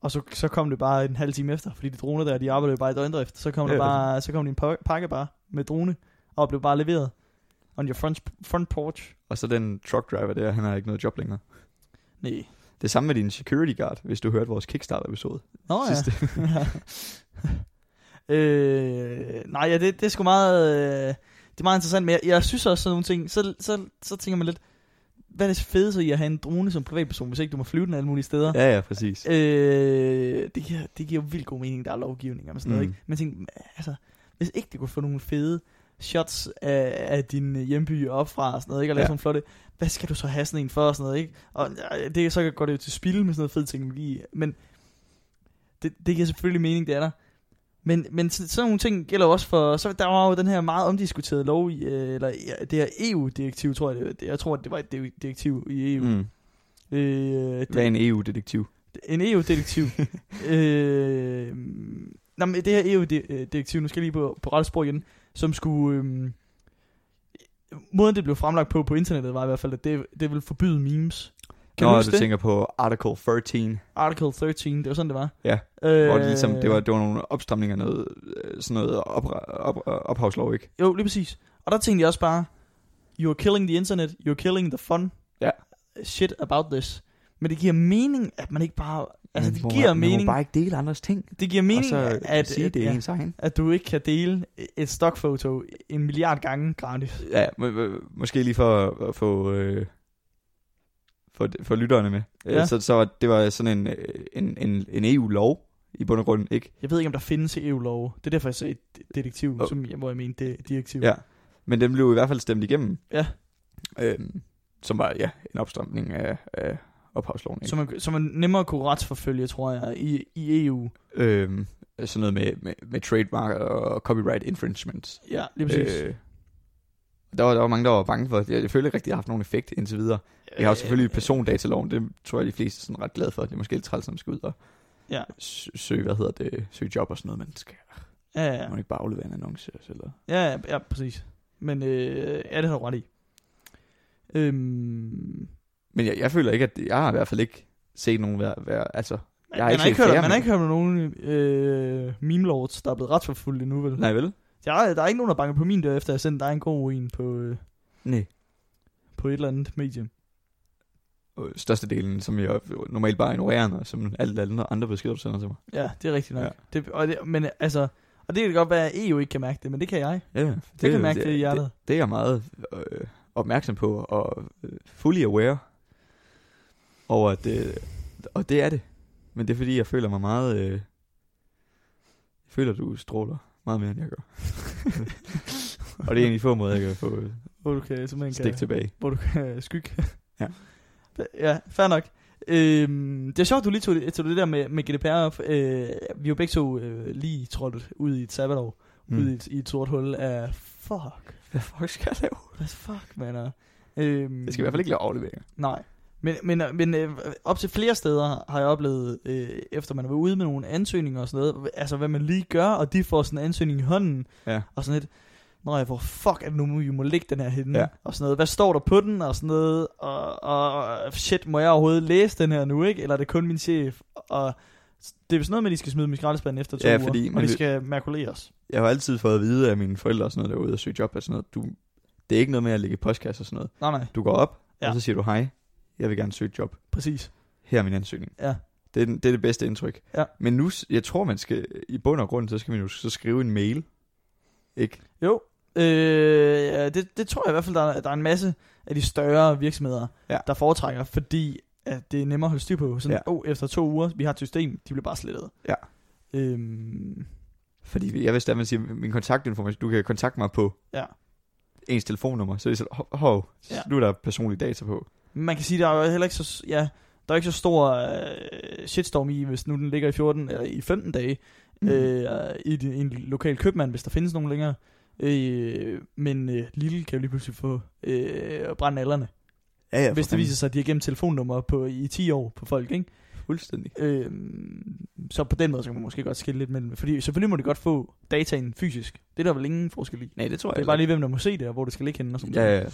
Speaker 1: og så, så kom det bare en halv time efter, fordi de droner der, de arbejdede jo bare i døgndrift. Så kom,
Speaker 2: Ja.
Speaker 1: der bare, så kom de en pa- pakke bare med drone, og blev bare leveret on your front, front porch.
Speaker 2: Og så den truck driver der, han har ikke noget job længere.
Speaker 1: Nej.
Speaker 2: Det samme med din security guard, hvis du hørte vores Kickstarter-episode.
Speaker 1: Nå ja.
Speaker 2: Sidste.
Speaker 1: øh, nej, ja, det, det er sgu meget, øh, det er meget interessant, men jeg, jeg synes også sådan nogle ting, så, så, så tænker man lidt, hvad er det fedeste i at have en drone som privatperson, hvis ikke du må flyve den alle mulige steder?
Speaker 2: Ja, ja, præcis.
Speaker 1: Øh, det, giver, det giver jo vildt god mening, der er lovgivning og sådan noget,
Speaker 2: Mm.
Speaker 1: ikke? Men tænk, altså, hvis ikke du kunne få nogle fede shots af, af din øh, hjemby op fra og sådan noget, ikke? Og lave
Speaker 2: Ja.
Speaker 1: sådan nogle flotte, hvad skal du så have sådan en for og sådan noget, ikke? Og øh, det, så går det jo til spil med sådan noget fed teknologi, men det, det giver selvfølgelig mening, det er der. Men, men så- sådan nogle ting gælder jo også for, så der var jo den her meget omdiskuterede lov, i, øh, eller ja, det her EU-direktiv, tror jeg, det, jeg tror, det var et direktiv i EU. Mm.
Speaker 2: Mm.
Speaker 1: Øh, det,
Speaker 2: Hvad er en E EU-detektiv?
Speaker 1: en EU-detektiv. øh, nå, men det her EU-direktiv, nu skal jeg lige på, på rette spor igen, som skulle... Øh, måden, det blev fremlagt på på internettet, var i hvert fald, at det, det ville forbyde memes. Kan
Speaker 2: Nå,
Speaker 1: du
Speaker 2: du
Speaker 1: huske det?
Speaker 2: tænker på Article 13,
Speaker 1: Article 13, det var sådan, det var.
Speaker 2: Ja,
Speaker 1: øh,
Speaker 2: hvor det, ligesom, det, var, det var nogle opstramninger, noget, øh, sådan noget op, op, ophavslov, ikke?
Speaker 1: Jo, lige præcis. Og der tænkte jeg også bare, you're killing the internet, you're killing the fun.
Speaker 2: Ja.
Speaker 1: Shit about this. Men det giver mening, at man ikke bare... Altså,
Speaker 2: Men
Speaker 1: det
Speaker 2: må
Speaker 1: giver
Speaker 2: man, Man
Speaker 1: mening.
Speaker 2: må bare ikke dele andres ting.
Speaker 1: Det giver mening,
Speaker 2: og så
Speaker 1: at...
Speaker 2: sige,
Speaker 1: at-
Speaker 2: det er
Speaker 1: ja.
Speaker 2: ens egen.
Speaker 1: at du ikke kan dele et stockfoto en milliard gange gratis.
Speaker 2: Ja, må, må, måske lige for at få øh, for, for lytterne med.
Speaker 1: Ja.
Speaker 2: Ja. Så, så var- det var sådan en, øh, en, en, en EU-lov i bund og grund, ikke?
Speaker 1: Jeg ved ikke, om der findes EU-lov. Det er derfor, jeg sagde et detektiv,
Speaker 2: Oh.
Speaker 1: oh. som, jeg- hvor jeg mente det, direktiv.
Speaker 2: Ja. Men den blev i hvert fald stemt igennem.
Speaker 1: Ja.
Speaker 2: Øhm, som var ja, en opstramning af, af ophavsloven. Ikke?
Speaker 1: Så, man, så man nemmere kunne retsforfølge, tror jeg, i, E i EU.
Speaker 2: øhm, sådan noget med, med, med trademark og copyright infringements.
Speaker 1: Ja, lige præcis.
Speaker 2: Øh, der, var, der var mange, der var bange for. det. Jeg føler ikke rigtig, det har haft nogen effekt indtil videre. Vi
Speaker 1: Øh.
Speaker 2: har jo selvfølgelig persondataloven, det tror jeg, de fleste er sådan ret glade for. Det er måske lidt træls, når man skal ud og
Speaker 1: Ja.
Speaker 2: s- søge, hvad hedder det, søge job og sådan noget, men skal
Speaker 1: Ja, ja,
Speaker 2: man ikke bare aflevere en annonce også, eller?
Speaker 1: ja, ja, ja præcis. Men øh, ja, det har du ret i. Øhm,
Speaker 2: Men jeg, jeg føler ikke, at jeg har i hvert fald ikke set nogen være, være altså,
Speaker 1: man,
Speaker 2: Jeg har
Speaker 1: man,
Speaker 2: ikke
Speaker 1: har
Speaker 2: set
Speaker 1: ikke hørt,
Speaker 2: flere,
Speaker 1: man har
Speaker 2: men-
Speaker 1: ikke hørt om nogen øh, meme lords, der er blevet retsforfulgt endnu, vel?
Speaker 2: nej vel?
Speaker 1: Der, er, der er ikke nogen, der banker på min dør, efter jeg sendte dig en god en på, øh,
Speaker 2: Nej.
Speaker 1: på et eller andet medie.
Speaker 2: øh, Størstedelen, som jeg normalt bare ignorerer, og som alle andre, andre beskeder, du sender til mig.
Speaker 1: Ja, det er rigtigt nok.
Speaker 2: Ja.
Speaker 1: Ja. Det, og det, men altså, og det kan godt være, at EU ikke kan mærke det, men det kan jeg.
Speaker 2: Ja, det,
Speaker 1: Jeg kan mærke det, i hjertet.
Speaker 2: Det, det er jeg meget øh, opmærksom på, og øh, fully aware over, at øh, og det er det. Men det er fordi, jeg føler mig meget, øh, jeg føler, du stråler meget mere, end jeg gør. og det er en af de få måder, jeg kan få øh,
Speaker 1: Hvor du kan, simpelthen
Speaker 2: stik
Speaker 1: kan,
Speaker 2: tilbage.
Speaker 1: hvor du kan øh, skygge.
Speaker 2: Ja.
Speaker 1: ja, fair nok. Øhm, det er sjovt, du lige tog det, tog det der med, med GDPR op. Øh, vi er jo begge to øh, lige trådt ud i et sabbatår. Mm. Ud i et, i et sort hul af, fuck,
Speaker 2: Hvad fuck skal jeg lave?
Speaker 1: hvad fuck, man er. Øhm,
Speaker 2: Jeg skal i hvert fald ikke lave afleveringer.
Speaker 1: Nej. Men, men, men øh, op til flere steder har jeg oplevet, øh, efter man var ude med nogle ansøgninger og sådan noget, altså hvad man lige gør, og de får sådan en ansøgning i hånden,
Speaker 2: Ja.
Speaker 1: og sådan lidt, nej, hvor fuck er det nu, vi må lægge den her henne,
Speaker 2: Ja.
Speaker 1: ja. og sådan noget, hvad står der på den, og sådan noget, og, og shit, må jeg overhovedet læse den her nu, ikke, eller er det kun min chef, og det er vist noget med, at de skal smide dem i skraldespanden efter to
Speaker 2: Ja,
Speaker 1: uger,
Speaker 2: fordi man
Speaker 1: og de
Speaker 2: vil-
Speaker 1: skal makuleres.
Speaker 2: Jeg har altid fået at vide af mine forældre og sådan noget, der er ude og søge job og sådan noget. Du, det er ikke noget med at ligge i postkasse og sådan noget.
Speaker 1: Nej, nej,
Speaker 2: Du går op, ja.
Speaker 1: Ja.
Speaker 2: og så siger du, hej, jeg vil gerne søge et job.
Speaker 1: præcis.
Speaker 2: her er min ansøgning.
Speaker 1: Ja.
Speaker 2: Det er, den, det er det bedste indtryk.
Speaker 1: Ja.
Speaker 2: Men nu, s- jeg tror, man skal, i bund og grund, så skal man jo så skrive en mail. Ikke?
Speaker 1: Jo, øh, ja, det, det tror jeg i hvert fald, der er, der er en masse af de større virksomheder,
Speaker 2: Ja.
Speaker 1: ja. der foretrækker, fordi at det er nemmere at holde styr på. Sådan, ja.
Speaker 2: Ja.
Speaker 1: oh, efter to uger, vi har et system, de bliver bare slettet.
Speaker 2: Ja.
Speaker 1: Øhm,
Speaker 2: Fordi jeg vidste, at man siger, min kontaktinformation, du kan kontakte mig på
Speaker 1: Ja.
Speaker 2: ens telefonnummer. Så er det sådan, hov, hov,
Speaker 1: Ja.
Speaker 2: nu er der personlige data på.
Speaker 1: man kan sige, der er jo heller ikke så... s- Ja, Der er ikke så stor øh, shitstorm i, hvis nu den ligger i 14 eller i 15 dage
Speaker 2: Mhm.
Speaker 1: mm. øh, i, de, i en lokal købmand, hvis der findes nogen længere. Øh, men øh, Lille kan jo lige pludselig få øh, brændt alderne,
Speaker 2: ja, ja, for
Speaker 1: ja, hvis det
Speaker 2: fanden.
Speaker 1: viser sig, at de har gemt telefonnummer på, i 10 år på folk, ikke?
Speaker 2: Fuldstændig.
Speaker 1: Øh, så på den måde, så kan man måske godt skille lidt mellem. Fordi selvfølgelig må de godt få dataen fysisk. Det er der vel ingen forskel i.
Speaker 2: Nej, det tror jeg
Speaker 1: Det er bare lige, hvem der må se det, og hvor det skal ligge henne og sådan
Speaker 2: Ja,
Speaker 1: noget.
Speaker 2: ja,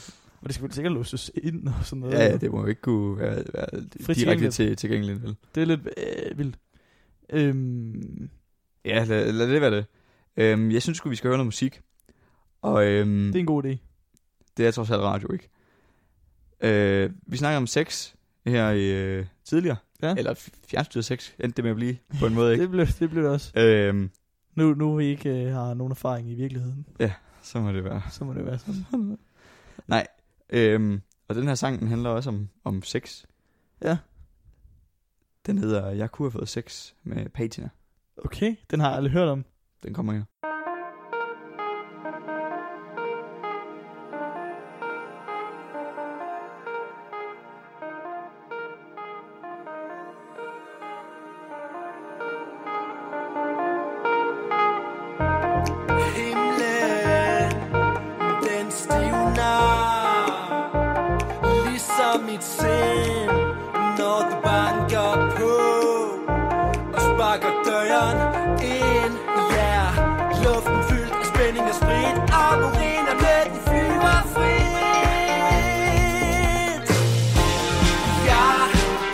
Speaker 1: Og det skal vel sikkert låses ind og sådan noget.
Speaker 2: ja, ja, det må jo ikke kunne være, være direkte
Speaker 1: tilgængeligt.
Speaker 2: til, tilgængeligt. Vel?
Speaker 1: Det er lidt øh, vildt. Øhm,
Speaker 2: Ja, lad, lad det være det. Øhm, jeg synes sgu, vi skal høre noget musik. Og øhm,
Speaker 1: det er en god idé.
Speaker 2: Det er trods alt radio, ikke? Øh, vi snakkede om sex her øh, tidligere.
Speaker 1: Ja.
Speaker 2: Eller fjernstyret sex, endte det med at blive, på en måde, ikke?
Speaker 1: Det blev det, blev det også.
Speaker 2: øhm,
Speaker 1: Nu, nu vi ikke øh, har nogen erfaring i virkeligheden,
Speaker 2: så må det være.
Speaker 1: så må det være sådan.
Speaker 2: Øhm, og den her sang, den handler også om, om sex.
Speaker 1: Ja.
Speaker 2: Den hedder Jeg kunne have fået sex med patina.
Speaker 1: Okay, den har jeg aldrig hørt om.
Speaker 2: Den kommer her.
Speaker 4: Himlen, den stivner Ligesom mit sind Når du banker på Og sparker døren ind Ja, yeah. luften fyldt af spænding og sprit Og urin er blødt, de flyver frit Jeg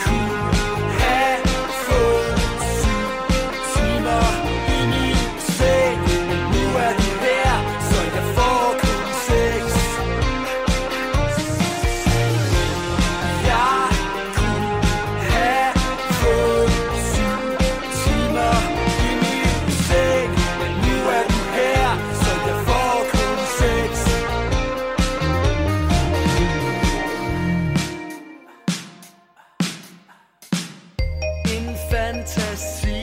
Speaker 4: kunne have fået syv timer i min seng Men nu er du der, så jeg får kun seks Jeg kunne have fået syv timer i min seng Men nu er du her, så jeg får kun seks En fantasi,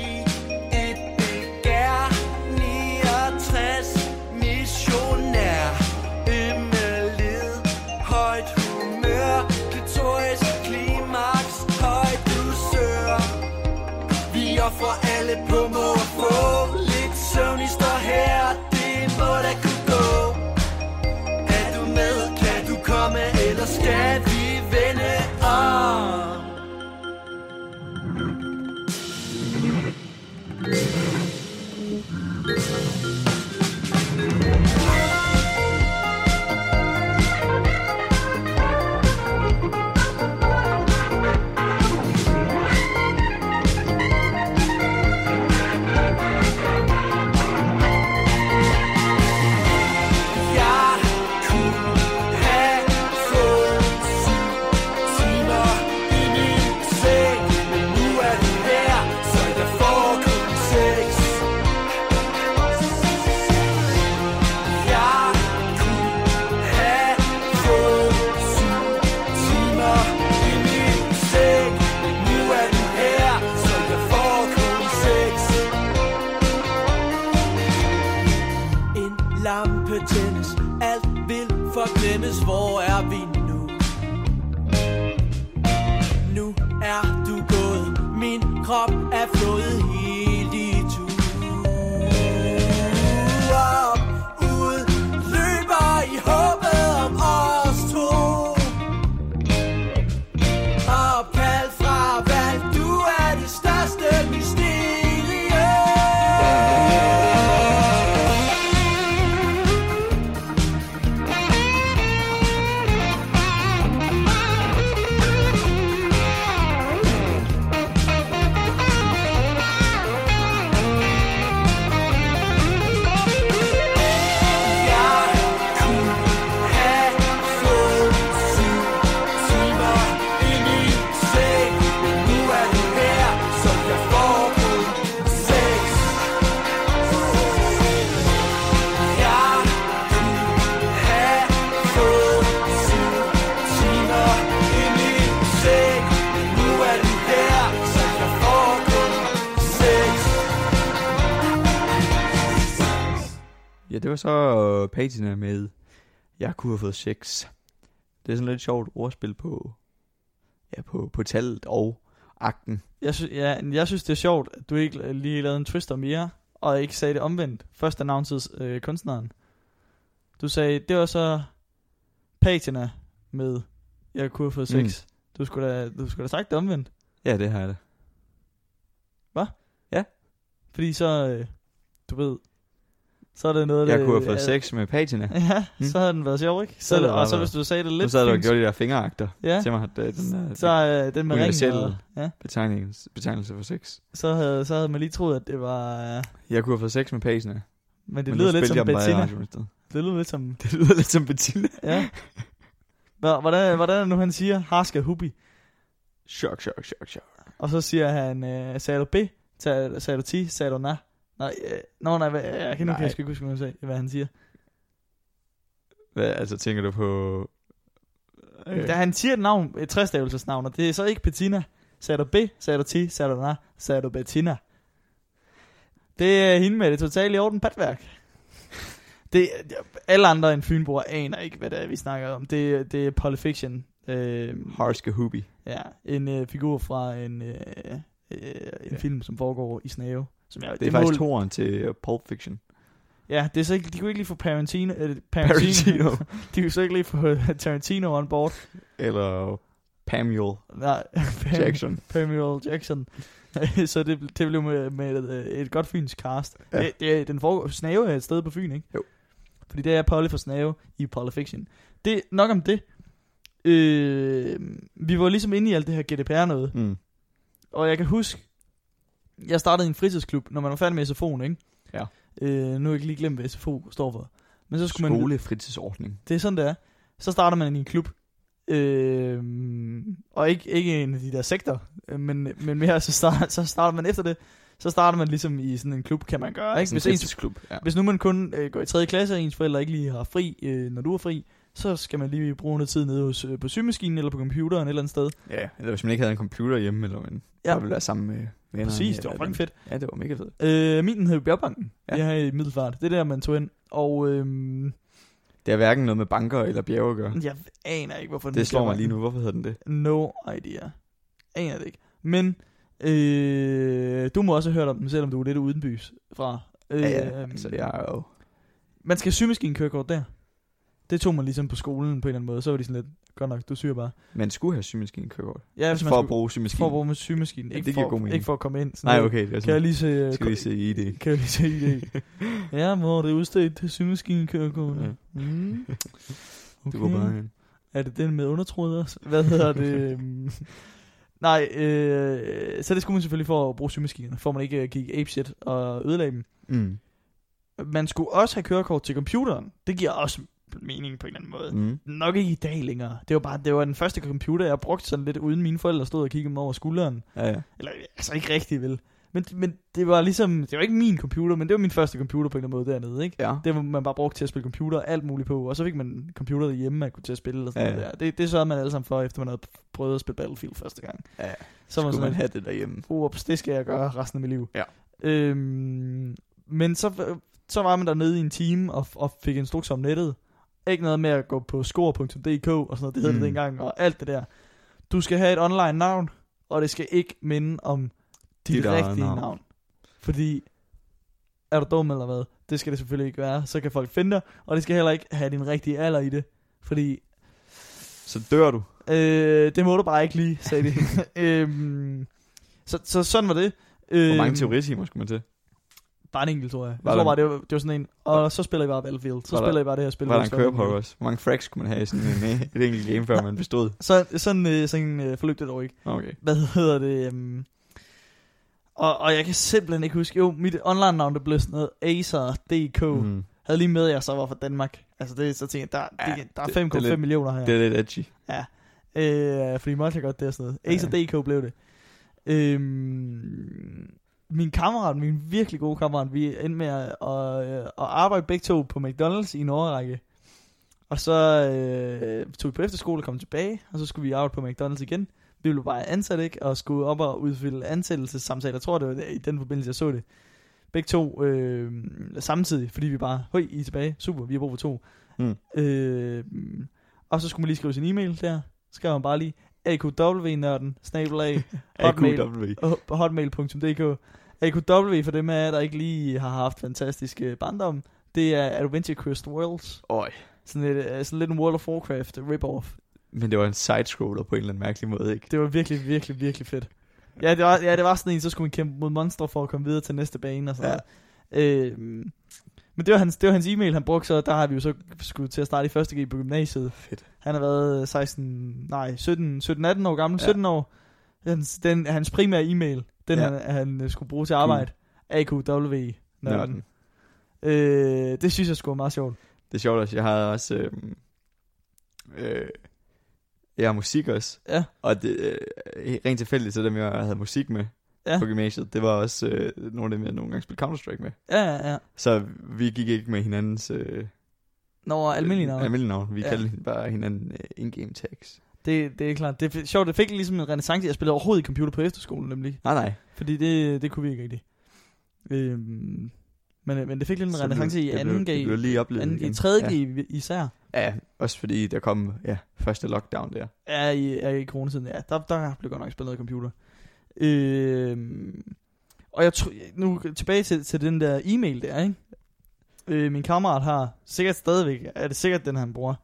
Speaker 4: et begær, 69 missionær, ømmeled, højt humør, klitoris, klimaks, højt dusør. Vi offrer alle på må og få, lidt søvn I står her, det må da kunne gå. Er du med, kan du komme, eller skal vi vende om? Jeg kunne have fået syv timer i min seng, men nu er du der, så jeg får kun seks. Jeg kunne have fået syv timer i min seng, men nu er du her, så jeg får kun seks. En lampe tændes, alt vil forglemmes, hvor er vi nu? Nu er du gået, min krop er flået helt i tu. Op, ud, løber i håbet om os to. Opkald fra valg, du er det største mysterie. Jeg kunne have fået syv timer i min seng, men nu er du her, så jeg får kun seks. Jeg kunne have fået syv timer i min seng, men nu er du her, så jeg får kun seks.
Speaker 2: Ja, det var så øh, patina med Jeg kunne have fået sex. Det er sådan lidt sjovt ordspil på, ja, på, på tallet og akten.
Speaker 1: Jeg, sy- ja, jeg synes, det er sjovt, at du ikke øh, lige lavede en twister mere, og ikke sagde det omvendt. Først annoncerede øh, kunstneren. Du sagde, det var så patina med, jeg kunne have fået
Speaker 2: Mm.
Speaker 1: sex. Du, skulle da, du skulle da sagt det omvendt.
Speaker 2: Ja, det har jeg da.
Speaker 1: Fordi så, øh, du ved, så er det noget,
Speaker 2: Jeg
Speaker 1: det-
Speaker 2: kunne have fået
Speaker 1: at-
Speaker 2: sex med patina.
Speaker 1: Ja,
Speaker 2: Mm.
Speaker 1: så havde den været sjov, ikke?
Speaker 2: Så havde
Speaker 1: Så,
Speaker 2: det
Speaker 1: og
Speaker 2: bare
Speaker 1: så
Speaker 2: været-
Speaker 1: hvis du sagde det
Speaker 2: Nu
Speaker 1: lidt
Speaker 2: sad du og
Speaker 1: fint,
Speaker 2: gjorde de der fingerakter
Speaker 1: Ja.
Speaker 2: til mig, at øh, den
Speaker 1: så
Speaker 2: der
Speaker 1: øh, den med ringen.
Speaker 2: universelle-
Speaker 1: Og, ja,
Speaker 2: betegnelse, betegnelse for sex.
Speaker 1: så havde, så havde man lige troet, at det var... Øh,
Speaker 2: Jeg kunne have fået sex med patina. Det
Speaker 1: men det lyder lidt som Bettina.
Speaker 2: Det
Speaker 1: Det lyder lidt som...
Speaker 2: lyder lidt som Bettina.
Speaker 1: Ja. Hva- Hvordan, hvordan er det nu, han siger, Harska Hubi?
Speaker 2: Chok, chok, chok, chok.
Speaker 1: Og så siger han, øh, sagde du B? Ta- Sagde du ti? Sagde du na? Nej, øh, nå, nej, hvad, jeg kan, nu kan
Speaker 2: Nej.
Speaker 1: jeg sgu ikke huske, hvad han sagde- hvad han siger.
Speaker 2: Hvad, altså tænker du på... øh,
Speaker 1: Da han siger et navn, et træstavelsesnavn, og det er så ikke Bettina. Sagde du B? Sagde du ti? Sagde du na? Sagde du Bettina? Det er hende med det totale i orden patværk. Det, alle andre end Fynboer aner ikke, hvad det er, vi snakker om. Det, det er Polyfiction. Øh,
Speaker 2: Harske Hubi.
Speaker 1: Ja, en øh, figur fra en, øh, øh, en
Speaker 2: Ja.
Speaker 1: film, som foregår i Snave. Som jeg,
Speaker 2: Det er faktisk toren til øh, Pulp Fiction.
Speaker 1: Ja, det er så ikke, de kunne ikke lige få Parentino, øh, Parentino.
Speaker 2: Tarantino.
Speaker 1: de kunne så ikke lige få øh, Tarantino on board.
Speaker 2: Eller Pamuel
Speaker 1: Nej, Pam-
Speaker 2: Jackson.
Speaker 1: Samuel Jackson. så det, det blev med, med et, øh, et godt fyns cast.
Speaker 2: Ja.
Speaker 1: Ja. Det, det, den foregår, Snave er et sted på Fyn, ikke?
Speaker 2: Jo.
Speaker 1: Fordi det er Polly for Snave i Polyfiction. Det, nok om det. Øh, vi var ligesom inde i alt det her GDPR noget.
Speaker 2: Mm.
Speaker 1: Og jeg kan huske, jeg startede i en fritidsklub, når man var færdig med SFO'en, ikke?
Speaker 2: Ja.
Speaker 1: Øh, nu har jeg ikke lige glemt, hvad SFO står for. Men så skulle man...
Speaker 2: Skolefritidsordning.
Speaker 1: Det er sådan, det er. Så starter man i en klub. Øh, og ikke, ikke en af de der sekter, øh, men, men mere, så, start, så starter man efter det. Så starter man ligesom i sådan en klub, kan man gøre, ikke?
Speaker 2: Sådan en
Speaker 1: Hvis, ens,
Speaker 2: fritidsklub. Ja.
Speaker 1: hvis nu man kun øh, går i 3. klasse, og ens forældre ikke lige har fri, øh, når du er fri, så skal man lige bruge noget tid nede hos, øh, på symaskinen eller på computeren et eller andet sted.
Speaker 2: ja, eller hvis man ikke havde en computer hjemme, eller man
Speaker 1: Ja.
Speaker 2: ja. ville være sammen med venner.
Speaker 1: Præcis, det var fucking fedt.
Speaker 2: Ja, det var mega fedt.
Speaker 1: Øh, min hed Bjergbanken. Ja.
Speaker 2: Ja.
Speaker 1: Jeg har i Middelfart. Det er der, man tog ind. Og øhm,
Speaker 2: Det har hverken noget med banker eller bjerge at gøre.
Speaker 1: jeg aner ikke, hvorfor den
Speaker 2: Det
Speaker 1: hed
Speaker 2: slår mig lige
Speaker 1: Bjergbanken.
Speaker 2: nu. Hvorfor hedder den det?
Speaker 1: No idea. Aner det ikke. Men øh, du må også have hørt om den, selvom du er lidt udenbys fra. Øh,
Speaker 2: Ja, ja. Altså, jeg er jo...
Speaker 1: Man skal have sygemaskinekørekort der. Det tog man ligesom på skolen på en eller anden måde. Så var de sådan lidt, godt nok, du syger bare.
Speaker 2: Man skulle have symaskinen kørekort.
Speaker 1: Ja, hvis man
Speaker 2: Altså For at
Speaker 1: skulle-
Speaker 2: bruge symaskinen.
Speaker 1: for at bruge med sygemaskinen.
Speaker 2: Ja,
Speaker 1: ikke,
Speaker 2: det giver
Speaker 1: for,
Speaker 2: god mening.
Speaker 1: ikke for at komme ind. Sådan
Speaker 2: Nej,
Speaker 1: noget.
Speaker 2: okay. Det er
Speaker 1: Kan jeg
Speaker 2: sådan,
Speaker 1: lige se... øh,
Speaker 2: skal lige se ID.
Speaker 1: Kan jeg lige se ID? ja, mor, det er udstedt til sygemaskinekørekort.
Speaker 2: Ja.
Speaker 1: Mm.
Speaker 2: Du går bare hen.
Speaker 1: Er det den med undertrådet også? Hvad hedder det? Øhm, Nej, øh, så det skulle man selvfølgelig for at bruge symaskinerne, for at man ikke øh, gik apeshit og ødelagde dem.
Speaker 2: Mm.
Speaker 1: Man skulle også have kørekort til computeren. Det giver også mening på en eller anden måde.
Speaker 2: Mm.
Speaker 1: Nok ikke i dag længere. Det var bare det var den første computer, jeg brugte sådan lidt uden mine forældre stod og kiggede mig over skulderen.
Speaker 2: Ja, ja.
Speaker 1: Eller altså ikke rigtig vel. Men, men det var ligesom, det var ikke min computer, men det var min første computer på en eller anden måde dernede, ikke?
Speaker 2: Ja.
Speaker 1: Det var man bare brugt til at spille computer og alt muligt på, og så fik man computer hjemme, man kunne til at spille eller sådan
Speaker 2: Ja,
Speaker 1: ja.
Speaker 2: ja.
Speaker 1: noget der. Det, det sørgede man alle sammen for, efter man havde prøvet at spille Battlefield første gang.
Speaker 2: Ja,
Speaker 1: så var man
Speaker 2: Skulle
Speaker 1: sådan,
Speaker 2: man
Speaker 1: man...
Speaker 2: have det derhjemme?
Speaker 1: ups, det skal jeg gøre resten af mit liv.
Speaker 2: Ja.
Speaker 1: Øhm, men så, så var man dernede i en time og, og fik instruks om nettet. Ikke noget med at gå på score.dk og sådan noget, det hed mm. det
Speaker 2: Mm.
Speaker 1: dengang, og alt det der. Du skal have et online navn, og det skal ikke minde om dit,
Speaker 2: Dit
Speaker 1: dit
Speaker 2: eget
Speaker 1: rigtige navn.
Speaker 2: navn.
Speaker 1: navn. Fordi, er du dum eller hvad? Det skal det selvfølgelig ikke være. Så kan folk finde dig, og det skal heller ikke have din rigtige alder i det. Fordi,
Speaker 2: Så dør du.
Speaker 1: øh, det må du bare ikke lige, sagde de. øhm, så, så sådan var det. Øh,
Speaker 2: Hvor mange teoritimer skulle man til?
Speaker 1: Bare en enkelt, tror jeg.
Speaker 2: Var
Speaker 1: jeg tror bare,
Speaker 2: der-
Speaker 1: det var, det var sådan en, og så spiller I bare Battlefield. Så
Speaker 2: Var der-
Speaker 1: spiller I bare det her spil.
Speaker 2: Var der
Speaker 1: hvis
Speaker 2: en
Speaker 1: det
Speaker 2: kører på
Speaker 1: muligt.
Speaker 2: også? Hvor mange fracks skulle man have i sådan en, øh, et enkelt game, før man bestod?
Speaker 1: Så, sådan, øh, sådan øh, forløb det dog ikke.
Speaker 2: Okay.
Speaker 1: Hvad hedder det? Um, og, og jeg kan simpelthen ikke huske. Jo, mit online-navn, det blev sådan noget Acer.dk. Mm.
Speaker 2: Mm.
Speaker 1: Havde lige med, at jeg så var fra Danmark. Altså, det, så tænkte jeg, der,
Speaker 2: Ja,
Speaker 1: ja, det, der
Speaker 2: det- det er
Speaker 1: er 5,5
Speaker 2: lidt-
Speaker 1: millioner her.
Speaker 2: Det er lidt edgy.
Speaker 1: Øh, fordi Monster godt det og sådan noget. Ace
Speaker 2: Ja.
Speaker 1: og DK blev det. Øhm, min kammerat, min virkelig gode kammerat, vi endte med at, at, øh, at arbejde begge to på McDonald's i en overrække. Og så øh, tog vi på efterskole og kom tilbage, og så skulle vi arbejde på McDonald's igen. Vi blev bare ansat, ikke? Og skulle op og udfylde ansættelsessamtaler. Jeg tror, det var der- i den forbindelse, jeg så det. Begge to øh, samtidig, fordi vi bare, høj, I er tilbage. Super, vi har brug for to.
Speaker 2: Mm.
Speaker 1: Øh, og så skulle man lige skrive sin e-mail der skrev han bare lige AQW-nørden, snabelag, hotmail.
Speaker 2: AQW.
Speaker 1: og hotmail.dk. AQW for dem af jer, der ikke lige har haft fantastiske barndom, det er Adventure Quest Worlds.
Speaker 2: Øj.
Speaker 1: Sådan, et, øh, sådan lidt en World of Warcraft rip-off.
Speaker 2: Men det var en side-scroller på en eller anden mærkelig måde, ikke?
Speaker 1: Det var virkelig, virkelig, virkelig fedt. Ja, det var, ja, det var sådan en, så skulle man kæmpe mod monstre for at komme videre til næste bane og sådan
Speaker 2: Ja.
Speaker 1: ja. noget. Øh, men det var, hans, det var hans e-mail, han brugte, så der har vi jo så skulle til at starte i første G på gymnasiet.
Speaker 2: Fedt.
Speaker 1: Han har været øh, 16, nej, 17, 17 18 år gammel,
Speaker 2: Ja.
Speaker 1: 17 år. Hans, den, hans primære e-mail, den
Speaker 2: Ja.
Speaker 1: ja. han, han øh, skulle bruge til arbejde, AQW.
Speaker 2: Nørden.
Speaker 1: Nørden. Øh, det synes jeg skulle meget sjovt.
Speaker 2: Det er sjovt også. Jeg har også... øhm, øh, jeg har musik også.
Speaker 1: Ja.
Speaker 2: Og det, øh, rent tilfældigt, så dem, jeg havde musik med
Speaker 1: Ja.
Speaker 2: på gymnasiet, det var også øh, nogle af dem, jeg nogle gange spillede Counter-Strike med.
Speaker 1: Ja, ja, ja.
Speaker 2: Så vi gik ikke med hinandens... Øh,
Speaker 1: Nå, almindelig navn.
Speaker 2: Almindelige navn. Vi
Speaker 1: Ja.
Speaker 2: kaldte bare hinanden øh, in-game tags.
Speaker 1: Det, det er klart. Det er f- sjovt, det fik ligesom en renaissance. Jeg spillede overhovedet ikke computer på efterskolen, nemlig.
Speaker 2: Nej, nej.
Speaker 1: Fordi det, det kunne vi ikke rigtig. Øhm, men, men det fik lidt en
Speaker 2: Så blev-
Speaker 1: renaissance i
Speaker 2: det blev-
Speaker 1: 2G,
Speaker 2: Det blev lige oplevet
Speaker 1: 2G,
Speaker 2: igen.
Speaker 1: 3G i- især.
Speaker 2: Ja. ja, også fordi der kom ja, første lockdown der.
Speaker 1: Ja, i, ja, i coronatiden. Ja, der, der blev godt nok spillet noget computer. Øhm, og jeg tror, nu tilbage til, til den der e-mail der, ikke? Øh, min kammerat har sikkert stadigvæk, er det sikkert den, han bruger.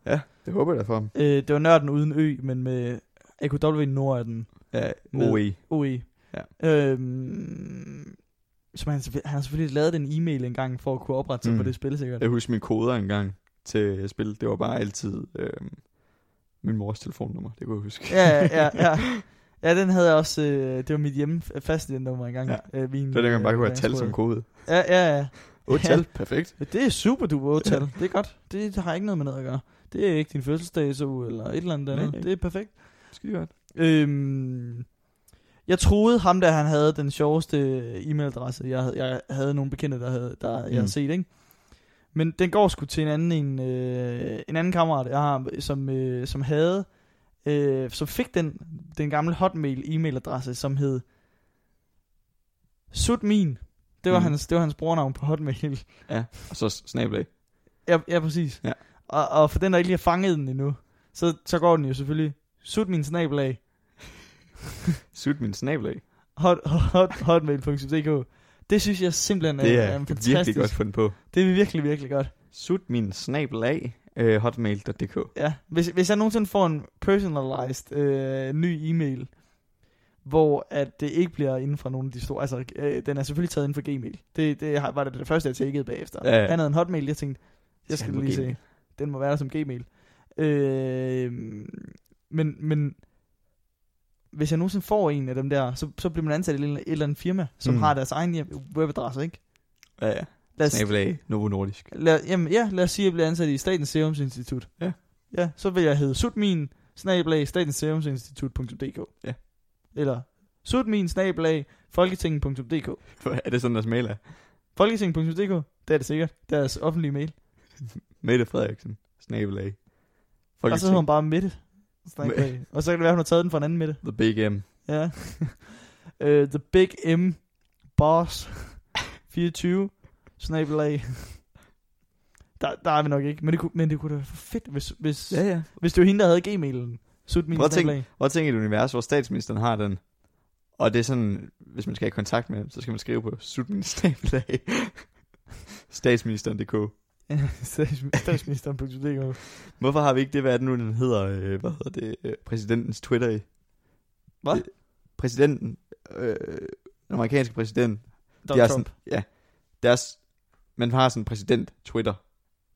Speaker 2: Det håber jeg da for ham.
Speaker 1: Øh, det var nørden uden ø, men med AQW Norden
Speaker 2: Ja, E.
Speaker 1: Med-
Speaker 2: OE.
Speaker 1: OE.
Speaker 2: Ja.
Speaker 1: E. Øhm, som han, selvfø- han har selvfølgelig lavet en e-mail engang for at kunne oprette sig
Speaker 2: Mm.
Speaker 1: mm. på det spil sikkert.
Speaker 2: Jeg husker mine koder engang til spil. Det var bare altid øh, min mors telefonnummer. Det kunne jeg huske.
Speaker 1: ja, ja, ja. Ja, den havde jeg også, øh, det var mit hjemme faste nummer engang.
Speaker 2: Ja.
Speaker 1: Øh, min,
Speaker 2: Det var dengang, man bare
Speaker 1: øh,
Speaker 2: kunne have tal
Speaker 1: skole.
Speaker 2: som kode.
Speaker 1: Ja, ja, ja.
Speaker 2: Otte
Speaker 1: Ja.
Speaker 2: tal, perfekt.
Speaker 1: Ja, Det er super duper otal. Det er godt. Det har ikke noget med noget at gøre. Det er ikke din fødselsdag så eller et eller andet
Speaker 2: Nej.
Speaker 1: andet. Det er perfekt.
Speaker 2: Skide godt.
Speaker 1: Øhm, jeg troede ham, der han havde den sjoveste øh, e-mailadresse. Jeg, havde- jeg havde nogle bekendte, der, havde, der jeg
Speaker 2: Mm.
Speaker 1: havde set, ikke? Men den går sgu til en anden, en, øh, en anden kammerat, jeg har, som, øh, som havde, øh, som fik den, den gamle hotmail e-mailadresse, som hed Sutmin. Det var,
Speaker 2: Mm.
Speaker 1: mm. hans, det var hans brugernavn på hotmail.
Speaker 2: Og så snablag.
Speaker 1: Ja, ja præcis.
Speaker 2: Ja.
Speaker 1: Og, og for den, der ikke lige har fanget den endnu, så, så går den jo selvfølgelig, sut min snabelag,
Speaker 2: Sut min snablag.
Speaker 1: hot, hot, hotmail.dk. Det synes jeg simpelthen er,
Speaker 2: Det
Speaker 1: er
Speaker 2: er
Speaker 1: en
Speaker 2: virkelig
Speaker 1: fantastisk.
Speaker 2: godt fundet på.
Speaker 1: Det er virkelig, virkelig godt.
Speaker 2: Sut min snablag. Øh, hotmail.dk.
Speaker 1: Ja. Hvis, hvis jeg nogensinde får en personalized øh, ny e-mail, hvor at det ikke bliver inden for nogle af de store... Altså, øh, den er selvfølgelig taget inden for Gmail. Det, det har- var det, det første, jeg tjekkede bagefter.
Speaker 2: Ja, ja.
Speaker 1: Han havde en hotmail, jeg tænkte, jeg
Speaker 2: Skal
Speaker 1: skal
Speaker 2: han på
Speaker 1: lige se.
Speaker 2: Gmail?
Speaker 1: Den må være der som Gmail. Øh, men, men hvis jeg nogensinde får en af dem der, så, så bliver man ansat i et eller- et eller andet firma, som
Speaker 2: Mm.
Speaker 1: mm. har deres egen hjem- webadresse, ikke?
Speaker 2: Ja, ja.
Speaker 1: Lad os,
Speaker 2: Snablag. Novo Nordisk.
Speaker 1: lad, jamen, ja, lad os sige, at jeg bliver ansat i Statens Serum Institut.
Speaker 2: Ja.
Speaker 1: Ja, så vil jeg hedde Sutmin, snablag, Statens Serum Institut.dk.
Speaker 2: Ja.
Speaker 1: Eller Sutmin, snablag, Folketinget.dk.
Speaker 2: Er det sådan, deres mail er?
Speaker 1: Folketinget.dk, det er det sikkert. Deres offentlige mail.
Speaker 2: Mette Frederiksen. Snabelag.
Speaker 1: Og så hedder hun bare Mette. Snabel-A. Og så kan det være, hun har taget den fra en anden Mette.
Speaker 2: The Big M.
Speaker 1: Ja. uh, the Big M Boss 24 snabel-a. Der, der er vi nok ikke, men det kunne, men det kunne da være for fedt, hvis, hvis,
Speaker 2: Ja, ja.
Speaker 1: Hvis det var hende, der havde Gmailen. Sut min
Speaker 2: Prøv at tænke-
Speaker 1: snabel-a.
Speaker 2: Prøv at tænke et univers, hvor statsministeren har den. Og det er sådan, hvis man skal have kontakt med ham, så skal man skrive på slutministerlag. Statsministeren.dk
Speaker 1: Statsmi- Statsministeren.dk
Speaker 2: Hvorfor har vi ikke det, hvad er det nu, den hedder, øh, hvad hedder det, øh, præsidentens Twitter i?
Speaker 1: Hvad?
Speaker 2: Øh, Præsidenten, øh, den amerikanske præsident,
Speaker 1: Donald
Speaker 2: er
Speaker 1: Trump.
Speaker 2: ja, deres, man har sådan en præsident Twitter,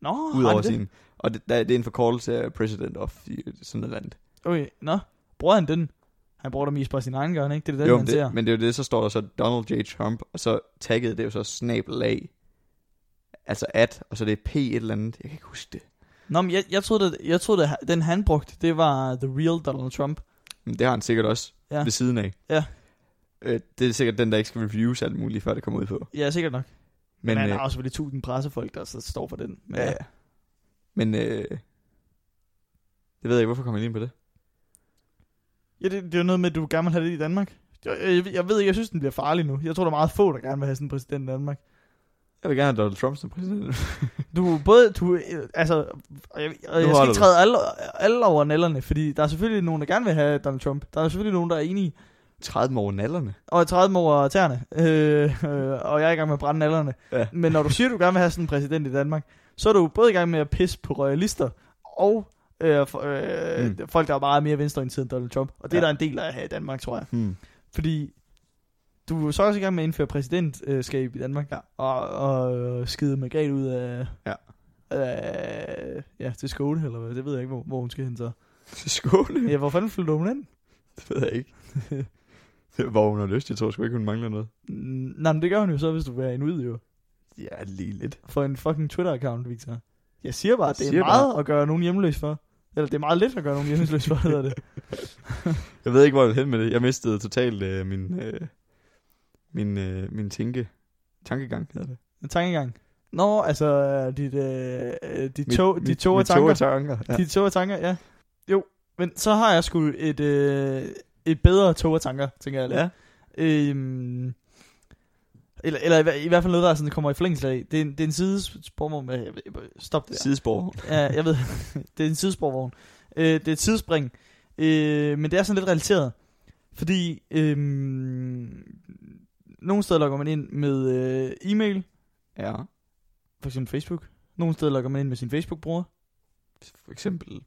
Speaker 1: Nå,
Speaker 2: ud
Speaker 1: har
Speaker 2: over
Speaker 1: de det?
Speaker 2: sin, og det, der, det er en forkortelse af president of øh, sådan noget land.
Speaker 1: Okay, nå. Bruger han den? Han bruger det mest på sin egen gør, han ikke? Det er det,
Speaker 2: jo,
Speaker 1: han
Speaker 2: men
Speaker 1: ser.
Speaker 2: det, men det er jo det, så står der så Donald J. Trump, og så tagget det er jo så snabelag, altså at, og så det er p et eller andet, jeg kan ikke huske det.
Speaker 1: Nå, men jeg, jeg troede, at, jeg troede at den han brugte, det var The Real Donald Trump.
Speaker 2: Men det har han sikkert også ja.
Speaker 1: Ja.
Speaker 2: ved siden af.
Speaker 1: Ja.
Speaker 2: Øh, det er sikkert den, der ikke skal reviews alt muligt, før det kommer ud på.
Speaker 1: Ja, sikkert nok. Men,
Speaker 2: Men,
Speaker 1: han
Speaker 2: øh,
Speaker 1: har også selvfølgelig tusind pressefolk, der så står for den. Men, øh,
Speaker 2: ja. ja. Men øh, det ved jeg ikke, hvorfor kommer jeg lige ind på det?
Speaker 1: ja det, det er jo noget med, at du gerne vil have det i Danmark. Jeg, jeg, jeg ved ikke, jeg synes, den bliver farlig nu. Jeg tror, der er meget få, der gerne vil have sådan en præsident i Danmark.
Speaker 2: Jeg vil gerne have Donald Trump som præsident.
Speaker 1: Du er både, du, øh, altså, og jeg, og jeg
Speaker 2: holder
Speaker 1: skal
Speaker 2: du.
Speaker 1: ikke træde alle, alle over nallerne, fordi der er selvfølgelig nogen, der gerne vil have Donald Trump. Der er selvfølgelig nogen, der er enige,
Speaker 2: 30 over nallerne.
Speaker 1: og jeg træder dem over tæerne, øh, øh, og jeg er i gang med at brænde nallerne.
Speaker 2: Ja.
Speaker 1: Men når du siger, du gerne vil have sådan en præsident i Danmark, så er du både i gang med at pisse på royalister, og øh, for, øh,
Speaker 2: Mm.
Speaker 1: mm. folk, der er meget mere venstreorienteret end Donald Trump. Og det ja.
Speaker 2: Ja.
Speaker 1: er der en del af her i Danmark, tror jeg.
Speaker 2: Hmm.
Speaker 1: Fordi du er jo så også i gang med at indføre præsidentskab i Danmark.
Speaker 2: Ja.
Speaker 1: Og, og skide Margrethe ud af...
Speaker 2: Ja.
Speaker 1: Øh, ja, til Skåne, eller hvad? Det ved jeg ikke, hvor, hvor hun skal hen så.
Speaker 2: Skåne?
Speaker 1: Ja, hvor fanden flytter hun hen?
Speaker 2: Det ved jeg ikke. Hvor hun har lyst, jeg tror sgu ikke, hun mangler noget.
Speaker 1: Mm, Nej, men det gør hun jo så, hvis du er en ud, jo.
Speaker 2: Ja, lige lidt.
Speaker 1: For en fucking Twitter-account, Victor. Jeg siger bare, at det er
Speaker 2: Siger
Speaker 1: meget at gøre nogen hjemløs for. Eller det er meget lidt at gøre nogen hjemløs for, hedder det.
Speaker 2: Jeg ved ikke, hvor jeg vil hen med det. Jeg mistede totalt øh, min, øh, min, øh, min tænke, tankegang, hedder det.
Speaker 1: En tankegang. Nå, altså, dit, øh, øh, dit
Speaker 2: Mit-
Speaker 1: tog,
Speaker 2: mit-
Speaker 1: dit tog af
Speaker 2: mit tog
Speaker 1: tanker.
Speaker 2: og tanker. Ja.
Speaker 1: Ja. De tog af tanker, ja. Jo, men så har jeg sgu et, øh, et bedre tog af tanker, tænker jeg. lidt.
Speaker 2: ja.
Speaker 1: Øhm, eller, eller i, hver- i hvert fald noget, der sådan, kommer i flængsel af. Det er, en- det er en sidespor, med, jeg, jeg, stop det der.
Speaker 2: Sidespor.
Speaker 1: Ja, jeg ved, det er en sidesporvogn. Øh, det er et sidespring, øh, men det er sådan lidt relateret. Fordi øh, nogle steder logger man ind med øh, e-mail,
Speaker 2: Ja.
Speaker 1: for eksempel Facebook. Nogle steder logger man ind med sin Facebook-bruger.
Speaker 2: For eksempel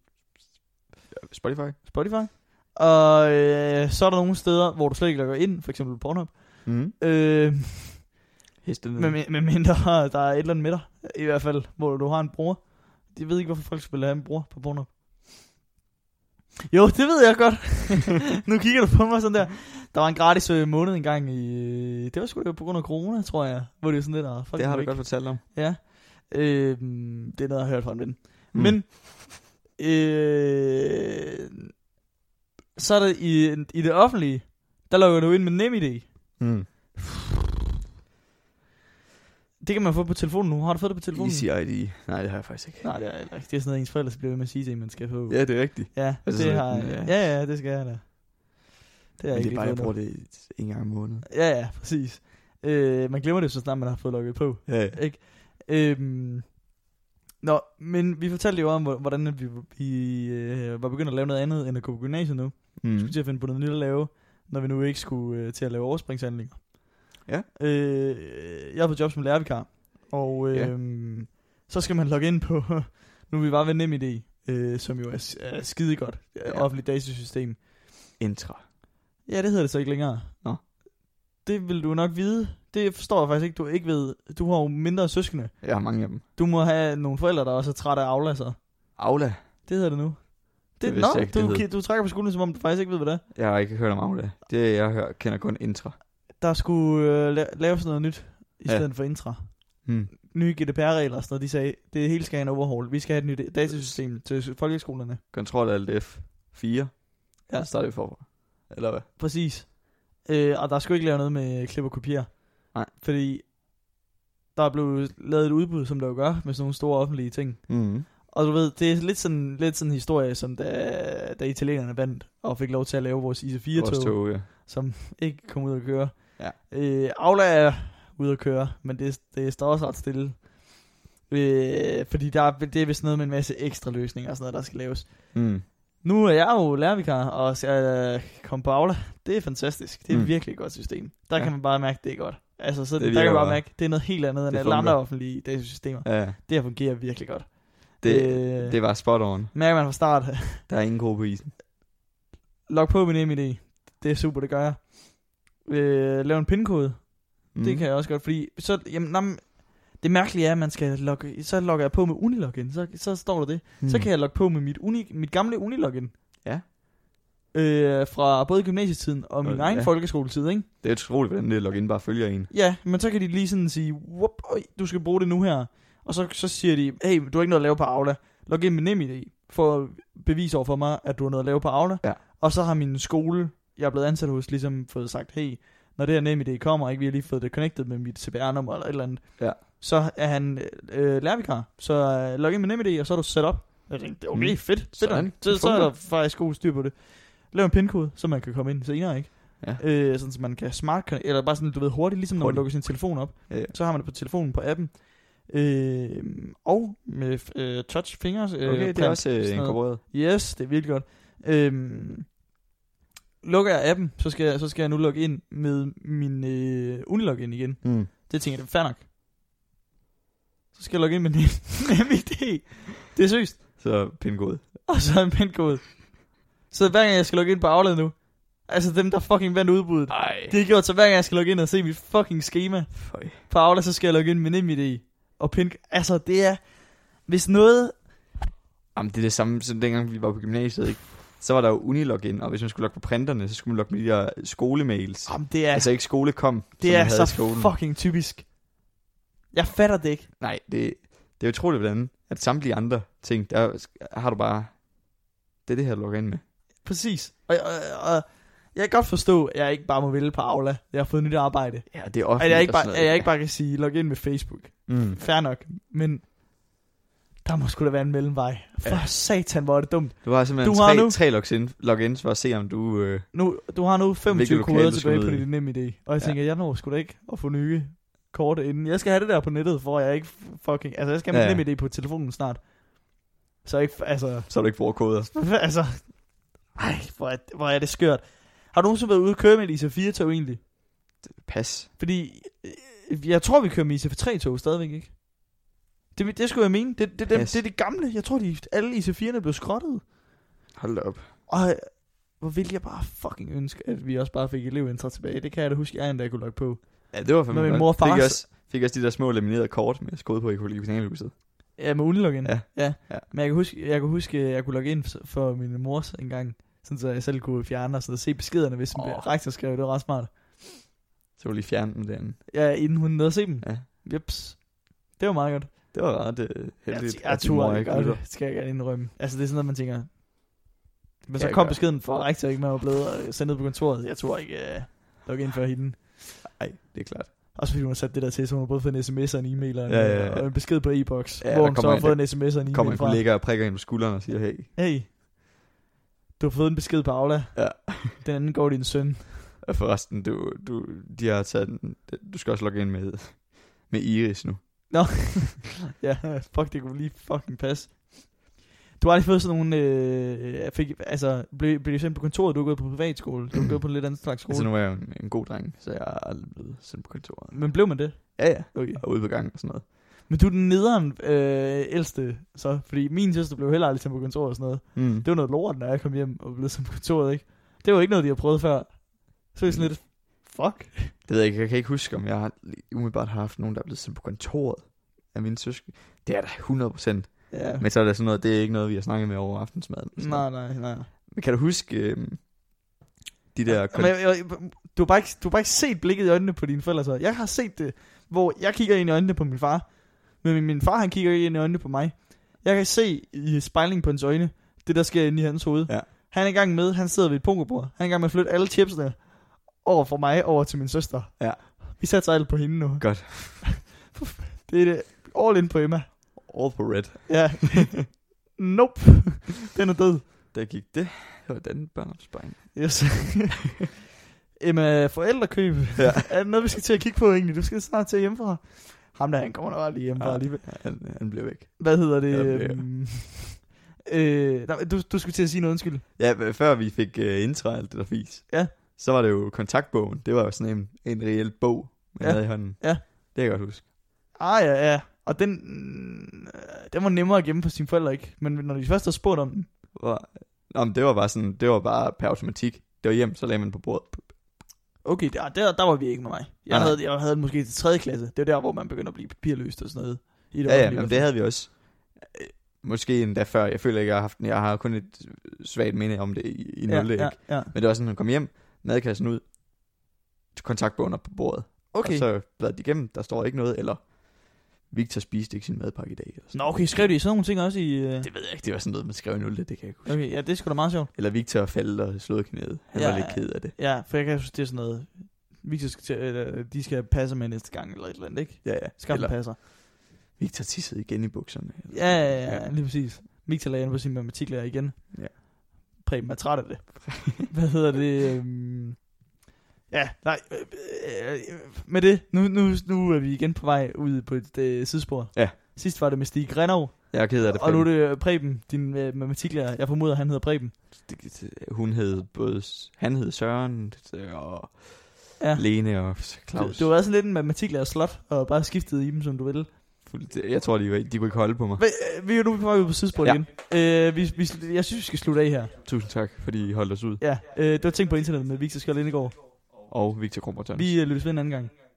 Speaker 2: Spotify.
Speaker 1: Spotify. Og øh, så er der nogle steder, hvor du slet ikke logger ind, for eksempel Pornhub.
Speaker 2: Mm.
Speaker 1: Øh,
Speaker 2: Hesten.
Speaker 1: med, med mindre der er et eller andet med dig, i hvert fald, hvor du har en bror. Jeg ved ikke, hvorfor folk skulle have en bror på Pornhub. Jo, det ved jeg godt. nu kigger du på mig sådan der. Der var en gratis øh, måned engang i... øh, Det var sgu da på grund af corona, tror jeg. Hvor det var sådan lidt... ah, Folk
Speaker 2: det har du
Speaker 1: ikke.
Speaker 2: godt fortalt om.
Speaker 1: Ja. Øh, det er noget, jeg har hørt fra en ven. Mm. Men øh, så er der i, i det offentlige, der logger du ind med NemID.
Speaker 2: Mm.
Speaker 1: Det kan man få på telefonen nu. Har du fået det på telefonen?
Speaker 2: Easy ID. Nej, det har jeg faktisk ikke.
Speaker 1: Nej, det er, heller ikke. det er sådan noget, ens forældre bliver ved med at sige til, en, man skal få.
Speaker 2: Ja, det er rigtigt.
Speaker 1: ja det
Speaker 2: altså sådan
Speaker 1: har
Speaker 2: en,
Speaker 1: ja.
Speaker 2: ja.
Speaker 1: ja, ja, det skal jeg da. Det er
Speaker 2: Men det er bare,
Speaker 1: fået
Speaker 2: jeg bruger det en gang om måneden.
Speaker 1: endnu. Ja, ja, præcis. Øh, man glemmer det jo, så snart, man har fået logget på.
Speaker 2: Ja, ja.
Speaker 1: Ikke? Øhm, nå, men vi fortalte jo om, hvor- hvordan at vi, vi øh, var begyndt at lave noget andet, end at gå på gymnasiet nu. Vi
Speaker 2: Mm.
Speaker 1: skulle til at finde på noget nyt at lave, når vi nu ikke skulle øh, til at lave overspringshandlinger.
Speaker 2: Ja.
Speaker 1: Øh, jeg har fået job som lærervikar, og øh,
Speaker 2: Ja.
Speaker 1: så skal man logge ind på, nu er vi bare ved NemID, øh, som jo er, er skidegodt, ja.
Speaker 2: Ja.
Speaker 1: offentligt datasystem.
Speaker 2: Intra.
Speaker 1: Ja, det hedder det så ikke længere.
Speaker 2: Nå.
Speaker 1: Det vil du nok vide. Det forstår jeg faktisk ikke, du ikke ved. Du har jo mindre søskende.
Speaker 2: Jeg har mange af dem.
Speaker 1: Du må have nogle forældre, der også er trætte af aflasser.
Speaker 2: Aula.
Speaker 1: Det hedder det nu. Det,
Speaker 2: Det vidste
Speaker 1: nå,
Speaker 2: jeg ikke,
Speaker 1: du,
Speaker 2: det hed.
Speaker 1: ki- du trækker på skolen, som om du faktisk ikke ved, hvad det er.
Speaker 2: Jeg har ikke hørt om Aula. Det, jeg hører, kender kun Intra.
Speaker 1: der skulle øh, la- laves noget nyt, i
Speaker 2: Ja.
Speaker 1: stedet for intra.
Speaker 2: Mm.
Speaker 1: Nye GDPR-regler og sådan noget, de sagde, det hele skal have en overhaul. Vi skal have et nyt datasystem til folkeskolerne.
Speaker 2: Control Alt F. 4.
Speaker 1: Ja.
Speaker 2: Ja. Så starter vi forfra. Eller hvad?
Speaker 1: Præcis. Øh, og der skulle ikke lave noget med klip og kopier.
Speaker 2: Nej.
Speaker 1: Fordi der blev lavet et udbud, som der jo gør, med sådan nogle store offentlige ting.
Speaker 2: Mm.
Speaker 1: Og du ved, det er lidt sådan, lidt sådan en historie, som da, da italienerne vandt og fik lov til at lave vores
Speaker 2: Vores
Speaker 1: IC4-tog,
Speaker 2: tog, ja.
Speaker 1: som ikke kom ud at køre.
Speaker 2: Ja.
Speaker 1: Øh, Aula er ude at køre, men det, det står også ret stille. Øh, fordi der, er- det er vist noget med en masse ekstra løsninger og sådan noget, der skal laves.
Speaker 2: Mm.
Speaker 1: Nu er jeg jo lærervikar og skal øh, komme på Aula. Det er fantastisk. Det er mm.
Speaker 2: Mm.
Speaker 1: virkelig et godt system. Der
Speaker 2: Ja.
Speaker 1: kan man bare mærke, det er godt. Altså, så
Speaker 2: Det
Speaker 1: det der
Speaker 2: virker
Speaker 1: kan man bare
Speaker 2: bare.
Speaker 1: mærke, det er noget helt andet end
Speaker 2: Det
Speaker 1: alle andre
Speaker 2: fungerer.
Speaker 1: offentlige datasystemer.
Speaker 2: Ja,
Speaker 1: Det her fungerer virkelig godt.
Speaker 2: det,
Speaker 1: Øh.
Speaker 2: øh. det var spot on.
Speaker 1: Mærker man fra start,
Speaker 2: Der er ingen ko på isen.
Speaker 1: log på min MID. Det er super, det gør jeg. Øh, lav en pindkode.
Speaker 2: Mm.
Speaker 1: Det kan jeg også godt, fordi så, jamen, jamen, det mærkelige er, at man skal logge, så logger jeg på med Unilogin, så, så står der det. Mm. Så kan jeg logge på med mit, uni, mit gamle Unilogin.
Speaker 2: Mhm. Ja.
Speaker 1: Øh, fra både gymnasietiden og min
Speaker 2: Og-
Speaker 1: egen
Speaker 2: ja.
Speaker 1: folkeskoletid, ikke?
Speaker 2: Det er utroligt, hvordan det login bare følger en.
Speaker 1: Ja, men så kan de lige sådan sige, Wop, øj, du skal bruge det nu her. Og så, så siger de, hey, du har ikke noget at lave på Aula. Log ind med NemID for at bevise over for mig, at du har noget at lave på Aula.
Speaker 2: Ja.
Speaker 1: Og så har min skole, jeg er blevet ansat hos, ligesom fået sagt, hey, når det her NemID kommer, ikke, vi har lige fået det connected med mit CPR-nummer eller et eller andet,
Speaker 2: Ja.
Speaker 1: så er han øh, lærervikar. Så øh, log ind med NemID, og så er du set op. Jeg tænkte, det er okay,
Speaker 2: Mm.
Speaker 1: fedt. fedt
Speaker 2: Sådan.
Speaker 1: nok. så,
Speaker 2: Det
Speaker 1: så er
Speaker 2: fungerer.
Speaker 1: der faktisk god styr på det. Lav en pindkode, så man kan komme ind senere, ikke?
Speaker 2: Ja.
Speaker 1: Øh, sådan, så man kan smart, eller bare sådan, du ved, hurtigt, ligesom når man
Speaker 2: Hurtigt.
Speaker 1: lukker sin telefon op.
Speaker 2: Ja, ja.
Speaker 1: Så har man det på telefonen, på appen. Øh, og med øh, touch fingers. Øh,
Speaker 2: Okay, det er
Speaker 1: plan-
Speaker 2: også øh,
Speaker 1: sådan noget.
Speaker 2: inkorporeret.
Speaker 1: Yes, det er virkelig godt. Øhm, lukker jeg appen, så skal jeg, så skal jeg nu logge ind med min øh, unilogin igen.
Speaker 2: Mm.
Speaker 1: Det tænker jeg, det er fair nok. Så skal jeg logge ind med NemID. Det er seriøst.
Speaker 2: Så pindgod.
Speaker 1: Og så en pindkode. Så hver gang jeg skal logge ind på Outlet nu, altså dem der fucking vandt udbuddet,
Speaker 2: Nej.
Speaker 1: det er gjort, så hver gang jeg skal logge ind og se mit fucking schema
Speaker 2: Føj.
Speaker 1: på Outlet, så skal jeg logge ind med NemID. Og pind, altså det er, hvis noget,
Speaker 2: Jamen, det er det samme, som dengang vi var på gymnasiet, ikke? Så var der jo unilogin, og hvis man skulle logge på printerne, så skulle man logge med de der skolemails.
Speaker 1: jamen det er,
Speaker 2: Ja. Altså ikke skolekom, som
Speaker 1: Ah, det
Speaker 2: man
Speaker 1: er
Speaker 2: havde
Speaker 1: så
Speaker 2: i skolen.
Speaker 1: fucking typisk. Jeg fatter det ikke.
Speaker 2: Nej, det, det er utroligt, hvordan at samtlige andre ting, der har du bare... Det er det her, du logger ind med.
Speaker 1: Præcis. Og, og, og jeg kan godt forstå, at jeg ikke bare må vælge på Aula. Jeg har fået nyt arbejde.
Speaker 2: Ja, det er
Speaker 1: At
Speaker 2: offentligt
Speaker 1: jeg ikke
Speaker 2: og
Speaker 1: bare,
Speaker 2: sådan
Speaker 1: at jeg ikke bare kan sige, log ind med Facebook.
Speaker 2: Mm.
Speaker 1: Fair nok. Men der må sgu da være en mellemvej. For
Speaker 2: Ja.
Speaker 1: satan, hvor er det dumt.
Speaker 2: Du har simpelthen
Speaker 1: Du
Speaker 2: du
Speaker 1: har
Speaker 2: tre,
Speaker 1: nu-
Speaker 2: tre logins, logins for at se, om du... Øh,
Speaker 1: Nu, du har nu 25
Speaker 2: Hvilket lokale
Speaker 1: koder
Speaker 2: du skal
Speaker 1: tilbage
Speaker 2: ud
Speaker 1: på
Speaker 2: i.
Speaker 1: dit nemme idé. Og jeg
Speaker 2: Ja.
Speaker 1: tænker, jeg når sgu da ikke at få nye kort inden. Jeg skal have det der på nettet, for jeg ikke fucking... Altså, jeg skal have
Speaker 2: Ja,
Speaker 1: min
Speaker 2: ja.
Speaker 1: nemme idé på telefonen snart. Så jeg ikke... Altså...
Speaker 2: så du ikke bruger koder.
Speaker 1: altså... Ej, hvor er, hvor er det skørt. Har du nogensinde været ude at køre med et IC4-tog egentlig?
Speaker 2: Pas.
Speaker 1: Fordi øh, jeg tror, vi kører med IC3-tog stadigvæk, ikke? Det, det skulle jeg mene. Det, det, det,
Speaker 2: Yes.
Speaker 1: det er det gamle. Jeg tror, de, alle IC4'erne blev skrottet.
Speaker 2: Hold da op.
Speaker 1: Og øh, hvor ville jeg bare fucking ønske, at vi også bare fik elevintra tilbage. Det kan jeg da huske, jeg endda kunne logge på.
Speaker 2: Ja, det var fandme
Speaker 1: Med min
Speaker 2: godt.
Speaker 1: mor og far,
Speaker 2: Fik
Speaker 1: så-
Speaker 2: også, fik også de der små laminerede kort med skode på i kollegialhuset.
Speaker 1: Ja, med uniloggen.
Speaker 2: Ja.
Speaker 1: ja.
Speaker 2: Ja.
Speaker 1: Men jeg kan huske, jeg, kan huske, jeg kunne logge ind for- for min mors engang. Sådan så jeg selv kunne fjerne og sådan noget. se beskederne, hvis oh.
Speaker 2: Åh.
Speaker 1: rektor skrev. Det var ret smart.
Speaker 2: Så var lige fjerne den derinde.
Speaker 1: Ja, inden hun nåede at se dem.
Speaker 2: Ja.
Speaker 1: Jeps. Det var meget godt.
Speaker 2: Det var ret øh, heldigt.
Speaker 1: Jeg, jeg
Speaker 2: at din mor
Speaker 1: turde ikke
Speaker 2: ikke
Speaker 1: gøre
Speaker 2: lytter.
Speaker 1: det, skal jeg gerne indrømme. Altså, det er sådan noget, man tænker... Men
Speaker 2: Kan
Speaker 1: så
Speaker 2: jeg
Speaker 1: kom
Speaker 2: gøre.
Speaker 1: beskeden fra rektor, ikke? Man var blevet øh, sendt ned på kontoret. Jeg tror ikke, uh, logge ind for hende.
Speaker 2: Nej, det er klart.
Speaker 1: Også fordi hun har sat det der til, så hun har både fået en sms og en e-mail og en, øh,
Speaker 2: Ja, ja, ja.
Speaker 1: Og en besked på e-box,
Speaker 2: Ja,
Speaker 1: ja, hvor
Speaker 2: der
Speaker 1: hun så
Speaker 2: kommer
Speaker 1: har
Speaker 2: en-
Speaker 1: fået en sms og en
Speaker 2: Kommer
Speaker 1: e-mail
Speaker 2: en
Speaker 1: fra.
Speaker 2: kollega og prikker hende på skulderen og siger, hey,
Speaker 1: Hey, du har fået en besked på Aula.
Speaker 2: Ja.
Speaker 1: Den anden går din søn.
Speaker 2: og forresten, du, du, de har taget den, du skal også logge ind med, med Iris nu.
Speaker 1: Ja, fuck, det kunne lige fucking passe. Du har aldrig fået sådan nogle... Øh, fik, altså, blev, blev du sendt på kontoret, du er gået på privatskole, du er gået på en lidt anden slags skole.
Speaker 2: Altså nu er jeg jo en, en god dreng, så jeg er aldrig blevet sendt på kontoret.
Speaker 1: Men blev man det?
Speaker 2: Ja, ja.
Speaker 1: Okay.
Speaker 2: Og ude på gangen og sådan noget.
Speaker 1: Men du er den nederen øh, ældste, så. Fordi min søster blev heller aldrig sendt på kontoret og sådan noget.
Speaker 2: Mm.
Speaker 1: Det var noget lort, når jeg kom hjem og blev sendt på kontoret, ikke? Det var ikke noget, de har prøvet før. Så er jeg sådan lidt, fuck.
Speaker 2: Det ved jeg ikke, jeg kan ikke huske, om jeg har, umiddelbart har haft nogen, der er blevet sendt på kontoret af mine søskende. Det er da 100 procent.
Speaker 1: Ja.
Speaker 2: Men så er det sådan noget, det er ikke noget, vi har snakket med over aftensmaden. Sådan
Speaker 1: Nej,
Speaker 2: noget.
Speaker 1: nej, nej.
Speaker 2: Men kan du huske øhm, de der...
Speaker 1: Men, jeg, jeg, du, har bare ikke, du har bare ikke set blikket i øjnene på dine forældre, så. Jeg har set det, hvor jeg kigger ind i øjnene på min far. Men min, min far, han kigger ikke ind i øjnene på mig. Jeg kan se i spejling på hans øjne, det der sker inde i hans hoved.
Speaker 2: Ja.
Speaker 1: Han er i gang med, han sidder ved et pokerbord. Han er i gang med at flytte alle chipsene over fra mig over til min søster.
Speaker 2: Ja.
Speaker 1: Vi satser alt på hende nu.
Speaker 2: Godt.
Speaker 1: det er det. All in på Emma.
Speaker 2: All for red.
Speaker 1: Ja. nope. Den er død.
Speaker 2: Der gik det. Det var den børneopsparing.
Speaker 1: Yes. Emma, forældrekøb.
Speaker 2: Ja.
Speaker 1: er det noget, vi skal til at kigge på egentlig? Du skal snart til at hjemmefra. Ham der, han kommer nok aldrig hjemmefra
Speaker 2: Ja.
Speaker 1: alligevel.
Speaker 2: Han, han blev væk.
Speaker 1: Hvad hedder det?
Speaker 2: Ja, det er-
Speaker 1: øhm, øh, nej, du, du skulle til at sige noget, undskyld.
Speaker 2: Ja, h- før vi fik uh, intra alt det der fis,
Speaker 1: Ja.
Speaker 2: så var det jo kontaktbogen. Det var jo sådan en, en reel bog, man
Speaker 1: Ja.
Speaker 2: havde i hånden.
Speaker 1: Ja.
Speaker 2: Det kan jeg godt huske.
Speaker 1: Ah ja, ja. Og den, øh, den var nemmere at gemme for sine forældre, ikke? Men når de først har spurgt om den,
Speaker 2: Hvor, nå, men det var bare sådan, det var bare per automatik. Det var hjem, så lagde man på bordet.
Speaker 1: okay, der, der, der var vi ikke med mig. Jeg,
Speaker 2: Nej, nej.
Speaker 1: havde, jeg havde den måske til 3. klasse. Det var der, hvor man begynder at blive papirløst og sådan noget. I det
Speaker 2: Ja, ja,
Speaker 1: offentlige
Speaker 2: men
Speaker 1: i
Speaker 2: det
Speaker 1: hvert
Speaker 2: havde vi også. Øh, Måske endda før. Jeg føler ikke, jeg har haft den. Jeg har kun et svagt minde om det i, i
Speaker 1: fald.
Speaker 2: 0,
Speaker 1: ja,
Speaker 2: ikke?
Speaker 1: ja, ja.
Speaker 2: Men det var sådan, hun kom hjem, madkassen ud, kontaktbogen op på bordet.
Speaker 1: Okay.
Speaker 2: Og så bladrede de igennem, der står ikke noget, eller Victor spiste ikke sin madpakke i dag. Eller sådan.
Speaker 1: Nå, okay, skrev de sådan nogle ting også i... Øh...
Speaker 2: Det ved jeg ikke, det var sådan noget, man skrev i 0, det kan jeg ikke huske.
Speaker 1: Okay, ja, det er sgu da meget sjovt.
Speaker 2: Eller Victor faldt og slog knæet. Han
Speaker 1: Ja.
Speaker 2: var lidt ked af det.
Speaker 1: Ja, for jeg kan huske, det er sådan noget, Victor skal til, eller, de skal passe med næste gang, eller et eller andet, ikke?
Speaker 2: Ja, ja.
Speaker 1: Skam
Speaker 2: eller
Speaker 1: passer.
Speaker 2: Victor tissede igen i bukserne. eller
Speaker 1: Ja,
Speaker 2: sådan
Speaker 1: ja, ja, ja, lige præcis. Victor lagde ind på sin matematiklærer igen.
Speaker 2: Ja.
Speaker 1: Preben er træt af det. Hvad hedder det? øhm, Ja, nej. øh, øh, øh, Med det, nu, nu, nu er vi igen på vej ud på et øh, sidespor.
Speaker 2: Ja.
Speaker 1: Sidst var det med Stig Renov,
Speaker 2: Jeg er ked af det.
Speaker 1: og nu er det øh, Preben, din øh, matematiklærer. Jeg formoder, han hedder Preben.
Speaker 2: Preben. Hun hed både... Han hed Søren øh, og
Speaker 1: Ja.
Speaker 2: Lene og
Speaker 1: Du,
Speaker 2: Claus.
Speaker 1: du har været sådan lidt en matematiklærer slot, og bare skiftet i dem, som du ville.
Speaker 2: Fuld- Jeg tror, de, var- de kunne ikke holde på mig.
Speaker 1: Men, øh, vi er jo nu på vej ud på sidespor
Speaker 2: Ja.
Speaker 1: igen. Øh, vi, vi, jeg synes, vi skal slutte af her.
Speaker 2: Tusind tak, fordi I holdt os ud.
Speaker 1: Ja, øh, det var ting på internettet med Victor Skjold Indegård.
Speaker 2: Og Victor Krummertøn.
Speaker 1: Vi øh, lyttes ved en anden gang.